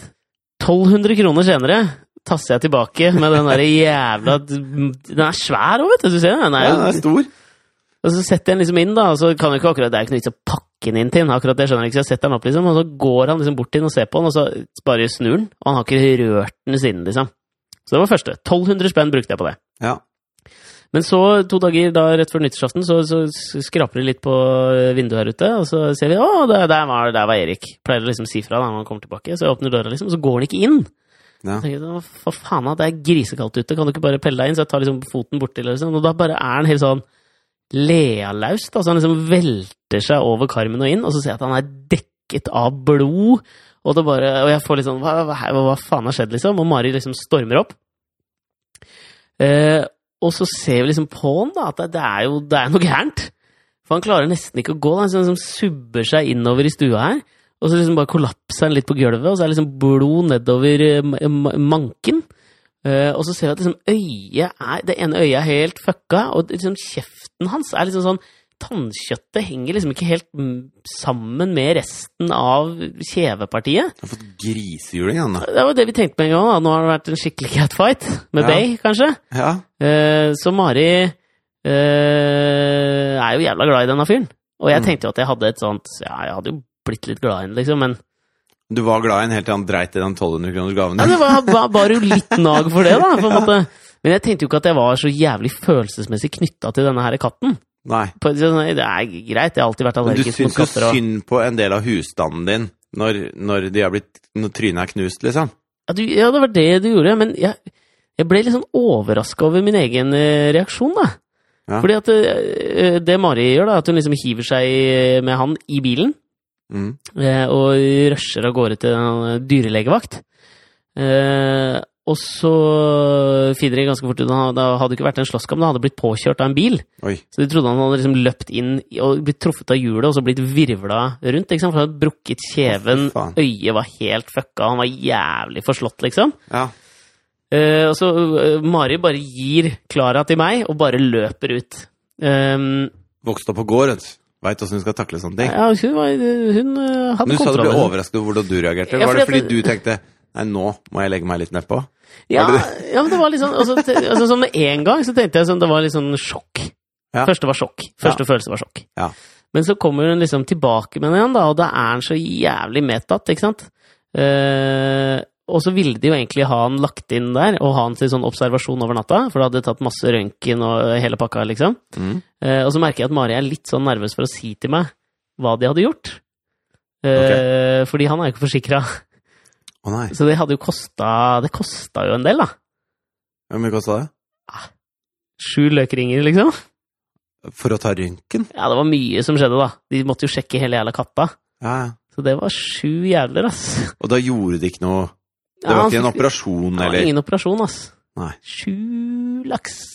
[SPEAKER 2] 1200 kroner senere tasser jeg tilbake med den der jævla Den er svær òg, vet du. du ser den. Den
[SPEAKER 1] ja den
[SPEAKER 2] er
[SPEAKER 1] er
[SPEAKER 2] jo,
[SPEAKER 1] stor.
[SPEAKER 2] og så setter jeg den liksom inn, da, og så kan jeg ikke akkurat, det er jo ikke noe vits å pakke den inn til den. akkurat det skjønner jeg ikke, så jeg setter den opp, liksom, og så går han liksom bort til den og ser på den, og så bare snur den, og han har ikke rørt den siden, liksom. Så det var første. 1200 spenn brukte jeg på det.
[SPEAKER 1] Ja.
[SPEAKER 2] Men så, to dager da, rett før nyttårsaften, så, så s- skraper det litt på eh, vinduet her ute, og så ser vi å, der, der, var, der var Erik. Pleier å liksom si fra da når han kommer tilbake. Så jeg åpner døra, liksom, og så går han ikke inn.
[SPEAKER 1] Ja.
[SPEAKER 2] Så tenker jeg, «Å, For faen, da, det er grisekaldt ute, kan du ikke bare pelle deg inn? Så jeg tar liksom foten borti, liksom, og da bare er han helt sånn lealaus. da, så han liksom velter seg over karmen og inn, og så ser jeg at han er dekket av blod. Og, det bare, og jeg får litt sånn hva, hva, hva, hva faen har skjedd, liksom? Og Mari liksom stormer opp. Eh, og så ser vi liksom på han da, at det- det er jo det er noe gærent. For han klarer nesten ikke å gå. da. Han liksom, liksom subber seg innover i stua her. Og så liksom bare kollapser han litt på gulvet, og så er det liksom blod nedover eh, ma- ma- manken. Eh, og så ser vi at liksom øyet er Det ene øyet er helt fucka, og liksom kjeften hans er liksom sånn Tannkjøttet henger liksom ikke helt mm, sammen med resten av kjevepartiet.
[SPEAKER 1] Du har fått grisehjuling, han da.
[SPEAKER 2] Det var det vi tenkte med en gang. da. Nå har det vært en skikkelig catfight med
[SPEAKER 1] Ja.
[SPEAKER 2] Bay, kanskje.
[SPEAKER 1] Ja.
[SPEAKER 2] Eh, så Mari eh, er jo jævla glad i denne fyren. Og jeg
[SPEAKER 1] Mm.
[SPEAKER 2] tenkte jo at jeg hadde et sånt Ja, jeg hadde jo blitt litt glad i henne, liksom, men
[SPEAKER 1] Du var glad i en helt til han dreit i den 1200 kroners gaven.
[SPEAKER 2] ja, det var, var, var jo litt nag for det, da. På en måte. Men jeg tenkte jo ikke at jeg var så jævlig følelsesmessig knytta til denne her katten.
[SPEAKER 1] Nei.
[SPEAKER 2] På- så sånn, Det er greit, jeg har alltid vært
[SPEAKER 1] Men du
[SPEAKER 2] allergisk
[SPEAKER 1] syns
[SPEAKER 2] mot
[SPEAKER 1] jo
[SPEAKER 2] katter. Og,
[SPEAKER 1] synd på en del av husstanden din når, når de har blitt Når trynet er knust, liksom.
[SPEAKER 2] ja, du, ja, det var det du gjorde, men jeg, jeg ble litt sånn overraska over min egen eh, reaksjon, da.
[SPEAKER 1] Ja.
[SPEAKER 2] Fordi at eh, det Mari gjør, da, at hun liksom hiver seg eh, med han i bilen
[SPEAKER 1] Mm.
[SPEAKER 2] eh, og rusher av gårde til en dyrelegevakt. Eh, Og så finner de ganske fort ut at han- det hadde ikke vært en slåsskamp, det hadde blitt påkjørt av en bil.
[SPEAKER 1] Oi.
[SPEAKER 2] Så de trodde han hadde liksom løpt inn i- og blitt truffet av hjulet og så blitt virvla rundt. Ikke sant? For han hadde brukket
[SPEAKER 1] Å, fy
[SPEAKER 2] kjeven,
[SPEAKER 1] faen.
[SPEAKER 2] øyet var helt fucka, han var jævlig forslått, liksom.
[SPEAKER 1] Ja.
[SPEAKER 2] Eh, og så eh, Mari bare gir Klara til meg og bare løper ut. Um,
[SPEAKER 1] Vokste opp på gård, vet du. Veit åssen du skal takle sånne ting.
[SPEAKER 2] ja, hun, var, hun eh,
[SPEAKER 1] Men
[SPEAKER 2] hadde
[SPEAKER 1] du sa du ble
[SPEAKER 2] kontroll.
[SPEAKER 1] overrasket over hvordan du reagerte.
[SPEAKER 2] Ja,
[SPEAKER 1] Var det
[SPEAKER 2] fordi
[SPEAKER 1] fordi
[SPEAKER 2] at-
[SPEAKER 1] du tenkte Nei, nå må jeg legge meg litt nedpå?
[SPEAKER 2] Ja,
[SPEAKER 1] Var det
[SPEAKER 2] ja, men det var litt sånn altså, te- altså, sånn Med en gang så tenkte jeg sånn, det var litt sånn sjokk.
[SPEAKER 1] Ja.
[SPEAKER 2] Første var sjokk. Første følelse var sjokk.
[SPEAKER 1] Ja.
[SPEAKER 2] Men så kommer hun liksom tilbake med den igjen, da, og da er han så jævlig medtatt, ikke sant? Eh, og så ville de jo egentlig ha han lagt inn der, og ha han til sånn observasjon over natta, for det hadde tatt masse røntgen og hele pakka, liksom.
[SPEAKER 1] Mm.
[SPEAKER 2] Eh, og så merker jeg at Mari er litt sånn nervøs for å si til meg hva de hadde gjort. Eh, Fordi han er jo ikke forsikra,
[SPEAKER 1] Å nei.
[SPEAKER 2] så det hadde jo kosta Det kosta jo en del, da.
[SPEAKER 1] Hvor mye kosta det?
[SPEAKER 2] Sju løkringer, liksom.
[SPEAKER 1] For å ta røntgen?
[SPEAKER 2] Ja, det var mye som skjedde, da. De måtte jo sjekke hele jævla katta.
[SPEAKER 1] Ja, ja.
[SPEAKER 2] Så det var sju jævler, ass.
[SPEAKER 1] Og da gjorde det ikke noe Det
[SPEAKER 2] Ja,
[SPEAKER 1] var
[SPEAKER 2] han
[SPEAKER 1] ikke en
[SPEAKER 2] fikk-
[SPEAKER 1] operasjon,
[SPEAKER 2] Det var
[SPEAKER 1] eller
[SPEAKER 2] ingen operasjon, ass.
[SPEAKER 1] Nei.
[SPEAKER 2] Sju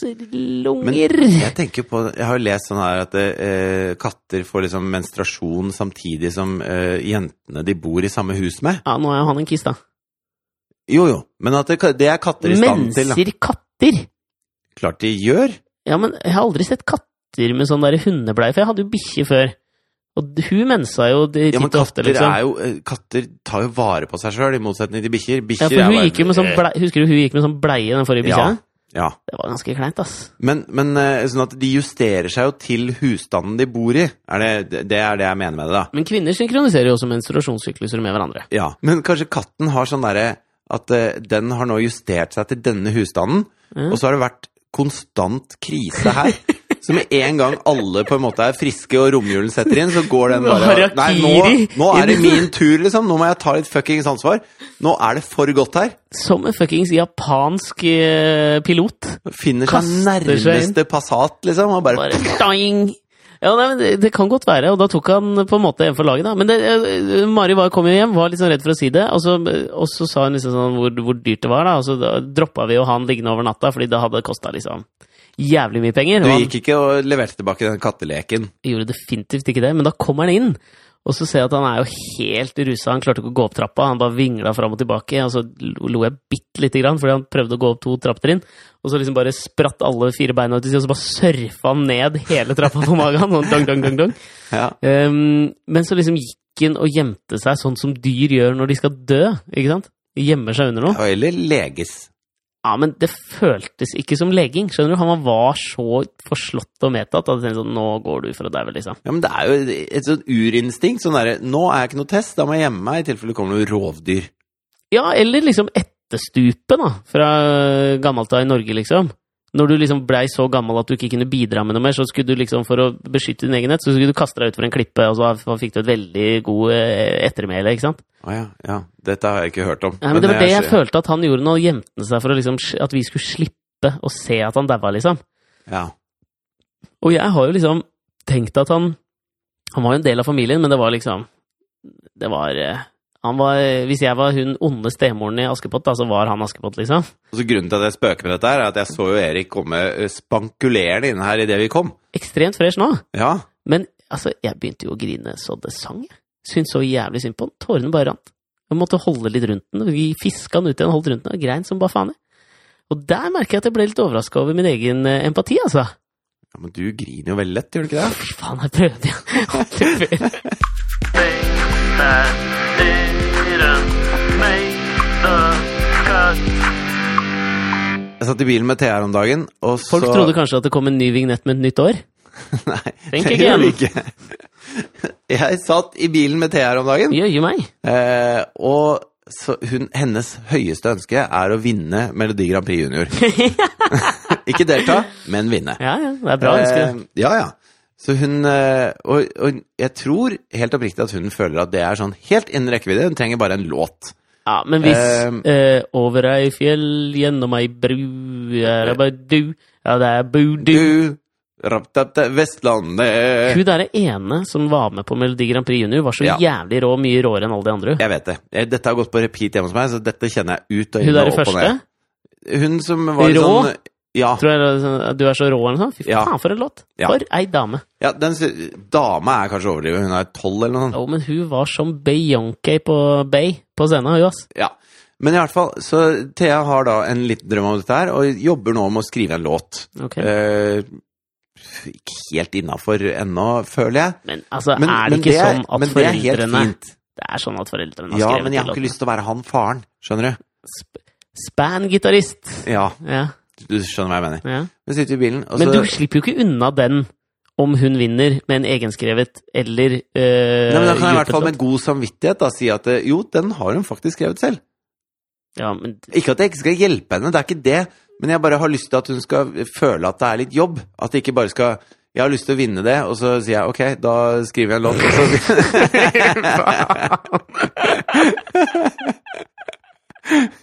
[SPEAKER 1] Men
[SPEAKER 2] lakselunger.
[SPEAKER 1] jeg tenker på Jeg har jo lest sånn her at eh, katter får liksom menstruasjon samtidig som eh, jentene de bor i samme hus med.
[SPEAKER 2] Ja, nå er jo han en kiss, da.
[SPEAKER 1] Jo, jo. Men at det, det er katter i stand til. da.
[SPEAKER 2] Mennesker, katter!
[SPEAKER 1] Klart de gjør.
[SPEAKER 2] Ja, men jeg har aldri sett katter med sånn der hundebleie, for jeg hadde jo bikkje før. Og d- hun mensa jo det
[SPEAKER 1] Ja,
[SPEAKER 2] titt
[SPEAKER 1] men
[SPEAKER 2] og ofte,
[SPEAKER 1] katter,
[SPEAKER 2] liksom.
[SPEAKER 1] er jo, eh, katter tar jo vare på seg sjøl, i motsetning til bikkjer.
[SPEAKER 2] Ja,
[SPEAKER 1] Bikkjer er
[SPEAKER 2] for hun
[SPEAKER 1] bare-
[SPEAKER 2] gikk jo med sånn bleie, Husker du hun gikk med sånn bleie, den forrige bikkja?
[SPEAKER 1] eh. Ja, ja.
[SPEAKER 2] Det var ganske kleint, ass.
[SPEAKER 1] Men, men eh, sånn at de justerer seg jo til husstanden de bor i. Er det, det er det jeg mener med det, da.
[SPEAKER 2] Men kvinner synkroniserer jo også menstruasjonssykluser med hverandre.
[SPEAKER 1] Ja, Men kanskje katten har sånn derre At eh, den har nå justert seg til denne husstanden,
[SPEAKER 2] Ja.
[SPEAKER 1] og så har det vært konstant krise her. Så med en gang alle på en måte er friske og romjulen setter inn, så går den bare
[SPEAKER 2] Harakiri
[SPEAKER 1] Nei, nå, nå er det min tur, liksom! Nå må jeg ta litt fuckings ansvar! Nå er det for godt her!
[SPEAKER 2] Som en fuckings japansk eh, pilot.
[SPEAKER 1] Finner seg
[SPEAKER 2] Kaster seg inn.
[SPEAKER 1] nærmeste Passat, liksom, og bare
[SPEAKER 2] Bare doing! Ja, nei, men det, det kan godt være, og da tok han på en måte en for laget, da. Men det, eh, Mari var, kom jo hjem, var litt sånn redd for å si det, og så, og så sa hun liksom sånn hvor, hvor dyrt det var, da. Og så da droppa vi jo han liggende over natta, fordi det hadde kosta liksom jævlig mye penger.
[SPEAKER 1] Du
[SPEAKER 2] og han-
[SPEAKER 1] gikk ikke og leverte tilbake den katteleken.
[SPEAKER 2] Jeg gjorde definitivt ikke det, men da kommer han inn. Og så ser jeg at han er jo helt rusa, han klarte ikke å gå opp trappa, han bare vingla fram og tilbake, og så lo lo jeg bitte lite grann fordi han prøvde å gå opp to trappetrinn, og så liksom bare spratt alle fire beina ut i siden, og så bare surfa han ned hele trappa på magen, sånn dong, dong, dong, dong.
[SPEAKER 1] Ja.
[SPEAKER 2] Ehm, men så liksom gikk han og gjemte seg, sånn som dyr gjør når de skal dø, ikke sant? De gjemmer seg under noe.
[SPEAKER 1] Og Eller leges.
[SPEAKER 2] Ja, men det føltes ikke som leging, skjønner du? Han var så forslått og medtatt at jeg tenkte sånn, nå går du for å daue, liksom.
[SPEAKER 1] Ja, men det er jo et sånt urinstinkt. Sånn derre Nå er jeg ikke noe test, da må jeg gjemme meg i tilfelle det kommer noe rovdyr.
[SPEAKER 2] Ja, eller liksom etterstupet, da, fra gammelt av i Norge, liksom. Når du liksom blei så gammel at du ikke kunne bidra med noe mer, så skulle du liksom, for å beskytte din egenhet, så skulle du kaste deg utfor en klippe, og så fikk du et veldig god eh, ettermæle, ikke sant?
[SPEAKER 1] Å ja, ja. Dette har jeg ikke hørt om.
[SPEAKER 2] Nei, men, det var det jeg,
[SPEAKER 1] ser-
[SPEAKER 2] følte at han gjorde nå, gjemte han seg for å liksom, sl- at vi skulle slippe å se at han daua, liksom.
[SPEAKER 1] Ja.
[SPEAKER 2] Og jeg har jo liksom tenkt at han Han var jo en del av familien, men det var liksom Det var eh, han var, Hvis jeg var hun onde stemoren i Askepott, da, så var han Askepott, liksom.
[SPEAKER 1] Og så Grunnen til at jeg spøker med dette, her, er at jeg så jo Erik komme eh, spankulerende inn her idet vi kom.
[SPEAKER 2] Ekstremt fresh nå.
[SPEAKER 1] Ja.
[SPEAKER 2] Men altså, jeg begynte jo å grine så det sang. jeg. Syntes så jævlig synd på den. Tårene bare rant. Jeg måtte holde litt rundt den. Vi fiska den ut igjen, holdt rundt den og grein som bare faen. jeg. Og der merker jeg at jeg ble litt overraska over min egen eh, empati, altså.
[SPEAKER 1] ja. Men du griner jo veldig lett, gjør du ikke det?
[SPEAKER 2] Fy faen, her prøvde jeg aldri før.
[SPEAKER 3] that didn't make the cut.
[SPEAKER 1] Jeg satt i bilen med Thea her om dagen, og så
[SPEAKER 2] Folk trodde kanskje at det kom en ny vignett med et nytt år.
[SPEAKER 1] Nei,
[SPEAKER 2] Tenk
[SPEAKER 1] det
[SPEAKER 2] igjen.
[SPEAKER 1] gjorde det ikke. Jeg satt i bilen med Thea her om dagen,
[SPEAKER 2] Jøye meg.
[SPEAKER 1] eh, og så hun, hennes høyeste ønske er å vinne Melodi Grand Prix Junior. ikke delta, men vinne.
[SPEAKER 2] Ja, ja, det er bra å ønske det.
[SPEAKER 1] Eh, ja, ja. Så hun eh, og, og jeg tror helt oppriktig at hun føler at det er sånn helt innen rekkevidde. Hun trenger bare en låt.
[SPEAKER 2] Ja, men hvis
[SPEAKER 1] eh,
[SPEAKER 2] eh, Over ei fjell, gjennom ei bru, er det bare du, ja, det er budu.
[SPEAKER 1] Du raptapte Vestlandet
[SPEAKER 2] Hun derre ene som var med på Melodi Grand Prix Junior, var så
[SPEAKER 1] Eh. Ja.
[SPEAKER 2] jævlig rå, mye råere enn alle de andre.
[SPEAKER 1] Jeg vet det. Eh, Dette har gått på repeat hjemme hos meg, så dette kjenner jeg ut og
[SPEAKER 2] Hun
[SPEAKER 1] inn
[SPEAKER 2] derre
[SPEAKER 1] og opp og
[SPEAKER 2] første,
[SPEAKER 1] ned. Hun som var litt
[SPEAKER 2] Rå?
[SPEAKER 1] sånn Ja.
[SPEAKER 2] tror jeg det er sånn, du er så rå eller noe sånt. Fy
[SPEAKER 1] Ja.
[SPEAKER 2] faen, for en låt!
[SPEAKER 1] Ja.
[SPEAKER 2] For ei dame.
[SPEAKER 1] ja den, sy- dama er kanskje overdrevet, hun er tolv eller noe sånt.
[SPEAKER 2] Jo, men hun var som Beyoncé på Bay på scenen, hun, ass.
[SPEAKER 1] Ja. Men i hvert fall, så Thea har da en liten drøm om dette her, og jobber nå med å skrive en låt.
[SPEAKER 2] Ok.
[SPEAKER 1] Eh, ikke helt innafor ennå, føler jeg.
[SPEAKER 2] Men altså, er det ikke sånn at
[SPEAKER 1] men det er helt
[SPEAKER 2] foreldrene det er,
[SPEAKER 1] fint.
[SPEAKER 2] sånn at foreldrene har
[SPEAKER 1] Ja,
[SPEAKER 2] skrevet
[SPEAKER 1] men jeg har ikke lyst til å være han faren. Skjønner du?
[SPEAKER 2] Span-gitarist!
[SPEAKER 1] Ja,
[SPEAKER 2] Ja,
[SPEAKER 1] du skjønner hva jeg mener.
[SPEAKER 2] ja.
[SPEAKER 1] Vi sitter i bilen, og så
[SPEAKER 2] Men du slipper jo ikke unna den om hun vinner med en egenskrevet eller eh,
[SPEAKER 1] Nei, men Da kan jeg i hvert fall
[SPEAKER 2] hjulpet
[SPEAKER 1] med god samvittighet da si at eh, jo, den har hun faktisk skrevet selv.
[SPEAKER 2] låt. Ja, men
[SPEAKER 1] Ikke at jeg ikke skal hjelpe henne, det er ikke det, men jeg bare har lyst til at hun skal føle at det er litt jobb. At det ikke bare skal Jeg har lyst til å vinne det, og så sier jeg ok, da skriver jeg en låt. Og så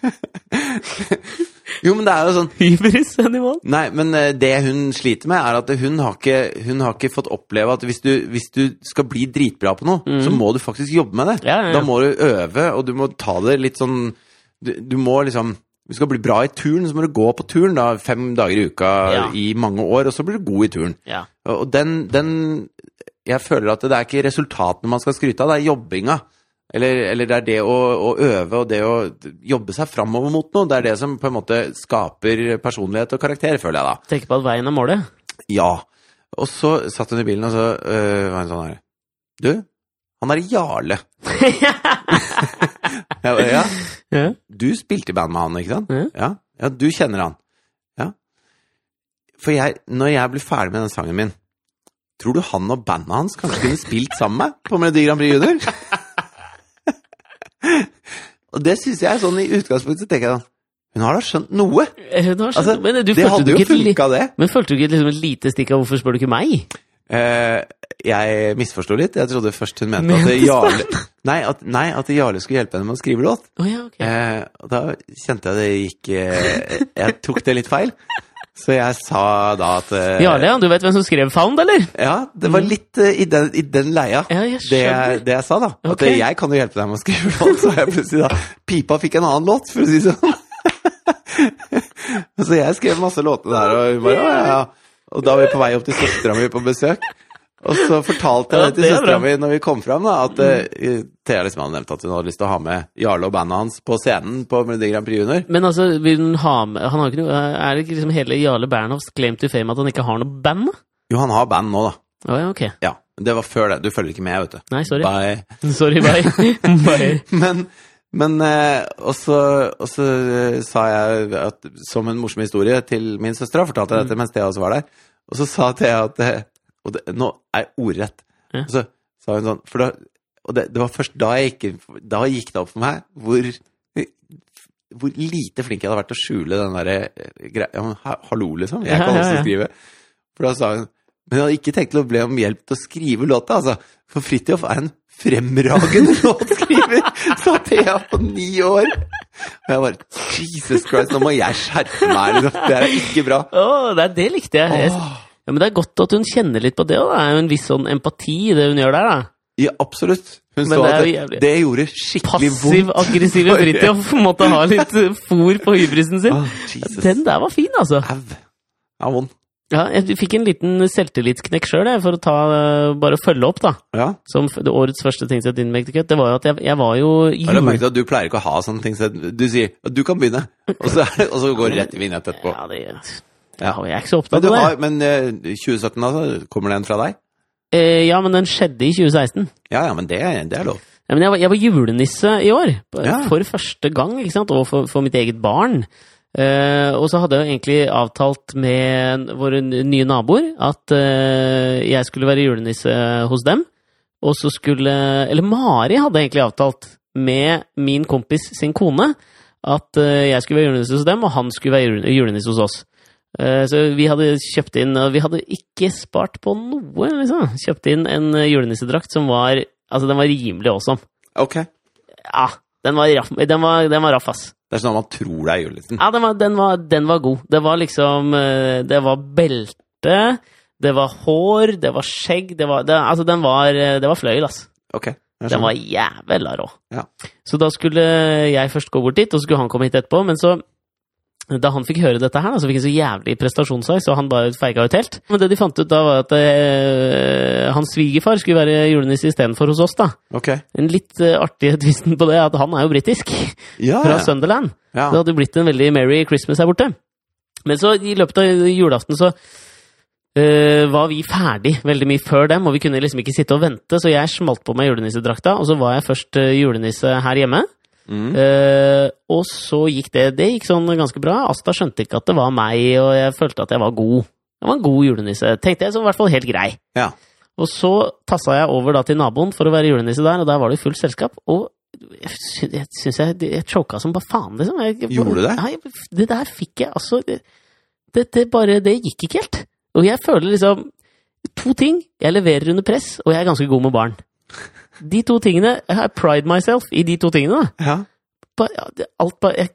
[SPEAKER 1] Jo, men det er jo sånn
[SPEAKER 2] Hybris, Hannibal.
[SPEAKER 1] Nei, men eh, det hun sliter med, er at hun har ikke, hun har ikke fått oppleve at hvis du, hvis du skal bli dritbra på noe, så må du faktisk jobbe med det.
[SPEAKER 2] Mhm. Ja, ja, ja.
[SPEAKER 1] Da må du øve, og du må ta det litt sånn Du, du må liksom Hvis du skal bli bra i turn, så må du gå på turn da, fem dager i uka
[SPEAKER 2] Ja.
[SPEAKER 1] i mange år, og så blir du god i turn.
[SPEAKER 2] Ja.
[SPEAKER 1] Og og den, den Jeg føler at det er ikke resultatene man skal skryte av, det er jobbinga. Eller, eller det er det å, å øve og det å jobbe seg framover mot noe. Det er det som på en måte skaper personlighet og karakter, føler jeg da.
[SPEAKER 2] Tenker på at veien er målet.
[SPEAKER 1] Ja. Og så satt hun i bilen, og så øh, var hun sånn her Du, han er Jarle. jeg bare, ja.
[SPEAKER 2] Ja.
[SPEAKER 1] Du spilte i band med han, ikke sant?
[SPEAKER 2] Ja.
[SPEAKER 1] Ja. ja, du kjenner han. Ja. For jeg, når jeg blir ferdig med den sangen min, tror du han og bandet hans kanskje kunne spilt sammen med meg på Melodi Grand Prix Junior? og det syns jeg sånn i utgangspunktet, så tenker jeg sånn Hun har da skjønt noe?
[SPEAKER 2] Eh, Det var sånn,
[SPEAKER 1] Altså,
[SPEAKER 2] men du
[SPEAKER 1] det
[SPEAKER 2] følte du
[SPEAKER 1] hadde jo
[SPEAKER 2] ikke et li-
[SPEAKER 1] funka, det.
[SPEAKER 2] Men følte du ikke liksom et lite stikk av 'hvorfor spør du ikke meg'?
[SPEAKER 1] Eh, jeg misforsto litt. Jeg trodde først hun mente
[SPEAKER 2] Mente
[SPEAKER 1] at
[SPEAKER 2] du
[SPEAKER 1] Jarle nei at, nei, at Jarle skulle hjelpe henne med å skrive låt.
[SPEAKER 2] Å ja, ok.
[SPEAKER 1] Eh, og da kjente jeg eh, det gikk eh, Jeg tok det litt feil. Så jeg sa da at eh,
[SPEAKER 2] Jarle, ja, du vet hvem som skrev Found, eller?
[SPEAKER 1] Ja, det var litt eh, i, den, i den leia,
[SPEAKER 2] Ja, jeg
[SPEAKER 1] det,
[SPEAKER 2] skjønner.
[SPEAKER 1] det jeg sa, da. At
[SPEAKER 2] Ok.
[SPEAKER 1] jeg kan jo hjelpe deg med å skrive låt, så jeg plutselig da Pipa fikk en annen låt, for å si det sånn. så jeg skrev masse låter der, og hun bare ja, ja, ja. Og da var vi på vei opp til søstera mi på besøk. Og så fortalte jeg
[SPEAKER 2] Ja,
[SPEAKER 1] det til
[SPEAKER 2] det er
[SPEAKER 1] søstera
[SPEAKER 2] bra.
[SPEAKER 1] mi når vi kom fram, da, at eh, Thea liksom hadde nevnt at hun hadde lyst til å ha med Jarle og bandet hans på scenen på Melodi Grand Prix Junior.
[SPEAKER 2] Men altså, vil hun ha med han har ikke noe, Er det ikke liksom hele Jarle Bernhoffs claim to fame at han ikke har noe band? da?
[SPEAKER 1] Jo, han har band nå, da.
[SPEAKER 2] Å ja, ok.
[SPEAKER 1] Ja. Det var før det. Du følger ikke med, vet du.
[SPEAKER 2] Nei, sorry.
[SPEAKER 1] Bye.
[SPEAKER 2] Sorry, bye. bye.
[SPEAKER 1] Men, men eh, og så og så, eh, sa jeg at, som en morsom historie til min søster, og fortalte jeg dette mens Thea også var der. Og så sa Thea at eh, Og det, nå er jeg ordrett.
[SPEAKER 2] Ja.
[SPEAKER 1] Og så sa hun sånn For da Og det, det var først da jeg gikk inn for- Da gikk det opp for meg hvor hvor lite flink jeg hadde vært til å skjule den derre greia ja, men ha- Hallo, liksom. Jeg kan
[SPEAKER 2] Ja, ja,
[SPEAKER 1] også
[SPEAKER 2] ja.
[SPEAKER 1] skrive. For da sa hun Men jeg hadde ikke tenkt til å bli om hjelp til å skrive låta, altså. For Fridtjof er en fremragende låtskriver, sa Thea på ni år. Og jeg bare Jesus Christ, nå må jeg skjerpe meg, liksom. Det her er ikke bra.
[SPEAKER 2] Å, det, er- det likte jeg. jeg.
[SPEAKER 1] Åh.
[SPEAKER 2] Ja, men det er godt at hun kjenner litt på det. også, da. Det er jo en viss sånn empati i det hun gjør der. da.
[SPEAKER 1] Ja, absolutt. Hun
[SPEAKER 2] Men
[SPEAKER 1] så
[SPEAKER 2] det
[SPEAKER 1] at
[SPEAKER 2] er jo
[SPEAKER 1] det,
[SPEAKER 2] jævlig-
[SPEAKER 1] det gjorde skikkelig vondt.
[SPEAKER 2] Passiv-aggressive
[SPEAKER 1] For-
[SPEAKER 2] Fridtjof måtte ha litt eh, fôr på hybrisen sin.
[SPEAKER 1] Åh, Jesus.
[SPEAKER 2] Den der var fin, altså.
[SPEAKER 1] Au. Det er vondt.
[SPEAKER 2] Ja, jeg fikk en liten selvtillitsknekk sjøl, for å ta, eh, bare følge opp, da.
[SPEAKER 1] Ja.
[SPEAKER 2] Som f- det årets første ting som Make the Cut, det var jo at jeg, jeg var jo
[SPEAKER 1] Har du
[SPEAKER 2] jule-
[SPEAKER 1] merket at du pleier ikke å ha sånne ting? så Du sier at du kan begynne, og så, er det- og så går det rett i vignett etterpå.
[SPEAKER 2] Ja, det, jeg,
[SPEAKER 1] Ja.
[SPEAKER 2] jeg er ikke så
[SPEAKER 1] Men,
[SPEAKER 2] opptatt
[SPEAKER 1] du
[SPEAKER 2] av det.
[SPEAKER 1] har, men eh, 2017, altså? Kommer den fra deg?
[SPEAKER 2] Eh, ja, men den skjedde i 2016.
[SPEAKER 1] Ja, ja, men det, er- det er lov.
[SPEAKER 2] Ja, men jeg, var, jeg var julenisse i år, på-
[SPEAKER 1] Ja.
[SPEAKER 2] for første gang, ikke sant? og for, for mitt eget barn. Eh, og så hadde jeg jo egentlig avtalt med våre n- nye naboer at eh, jeg skulle være julenisse hos dem. Og så skulle Eller Mari hadde egentlig avtalt med min kompis sin kone at eh, jeg skulle være julenisse hos dem, og han skulle være jule- julenisse hos oss. Eh, Så vi hadde kjøpt inn og Vi hadde ikke spart på noe, liksom. Kjøpt inn en eh, julenissedrakt som var Altså, den var rimelig awesome.
[SPEAKER 1] Ok. Det
[SPEAKER 2] Ja, den var raff, den var, den var raff ass.
[SPEAKER 1] er sånn at man tror det er julenissen.
[SPEAKER 2] Ja, den var, den, var, den var god. Det var liksom eh, Det var belte, det var hår, det var skjegg det var, det, Altså, den var, eh, det var fløyel, ass.
[SPEAKER 1] Ok. jeg skjønner.
[SPEAKER 2] Den var jævla rå.
[SPEAKER 1] Ja.
[SPEAKER 2] Så da skulle jeg først gå bort dit, og så skulle han komme hit etterpå. Men så, da han fikk høre dette her, da, så fikk han så jævlig prestasjonsangst, og han bare feiga ut helt. Men det de fant ut da, var at eh, hans svigerfar skulle være julenisse istedenfor hos oss, da.
[SPEAKER 1] Ok.
[SPEAKER 2] Den litt eh, artige tvisten på det, er at han er jo britisk.
[SPEAKER 1] Ja,
[SPEAKER 2] Fra
[SPEAKER 1] ja.
[SPEAKER 2] Sunderland.
[SPEAKER 1] ja.
[SPEAKER 2] Det hadde jo blitt en veldig merry Christmas her borte. Men så i løpet av julaften så eh, var vi ferdig veldig mye før dem, og vi kunne liksom ikke sitte og vente, så jeg smalt på meg julenissedrakta, og så var jeg først eh, julenisse her hjemme.
[SPEAKER 1] Mm.
[SPEAKER 2] Eh, og så gikk det Det gikk sånn ganske bra. Asta skjønte ikke at det var meg, og jeg følte at jeg var god. Jeg var en god julenisse, tenkte jeg, så i hvert fall helt grei.
[SPEAKER 1] ja.
[SPEAKER 2] Og så tassa jeg over da til naboen for å være julenisse der, og der var det jo fullt selskap. Og jeg sy- jeg syns jeg, jeg choka som bare faen, liksom. Jeg, jeg-
[SPEAKER 1] Gjorde du det?
[SPEAKER 2] Nei, det der fikk jeg altså det, det, det bare Det gikk ikke helt. Og jeg føler liksom To ting. Jeg leverer under press, og jeg er ganske god med barn. De to tingene I pride myself i de to tingene. da.
[SPEAKER 1] ja.
[SPEAKER 2] Bare, ja, det- alt bare Jeg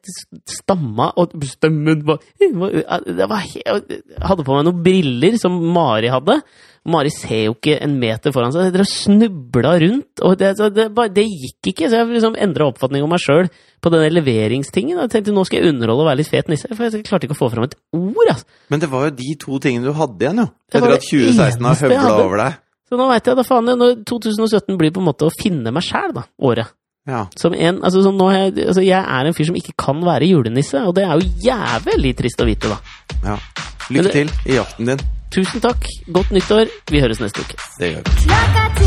[SPEAKER 2] stamma, og stemmen var det var he- Jeg hadde på meg noen briller som Mari hadde. Mari ser jo ikke en meter foran seg. Jeg drev og snubla rundt, og det, så det, bare, det gikk ikke. Så jeg liksom endra oppfatning om meg sjøl på den der leveringstingen. Jeg tenkte nå skal jeg underholde og være litt fet nisse, for jeg klarte ikke å få fram et ord. Altså.
[SPEAKER 1] Men det var jo de to tingene du hadde igjen, jo.
[SPEAKER 2] Det var
[SPEAKER 1] Etter
[SPEAKER 2] det
[SPEAKER 1] at 2016 har
[SPEAKER 2] eneste jeg
[SPEAKER 1] høvla
[SPEAKER 2] hadde.
[SPEAKER 1] over deg.
[SPEAKER 2] Så nå veit jeg da faen. Når 2017 blir på en måte å finne meg sjæl, da. Året.
[SPEAKER 1] Ja.
[SPEAKER 2] Som en, altså, som nå, har jeg, altså, jeg er en fyr som ikke kan være julenisse, og det er jo jævlig trist å vite, da.
[SPEAKER 1] ja.
[SPEAKER 2] Men
[SPEAKER 1] Lykke
[SPEAKER 2] det-
[SPEAKER 1] til i jakten din.
[SPEAKER 2] Tusen takk, godt nyttår, vi høres neste uke.
[SPEAKER 1] Det gjør vi.
[SPEAKER 4] Klokka ti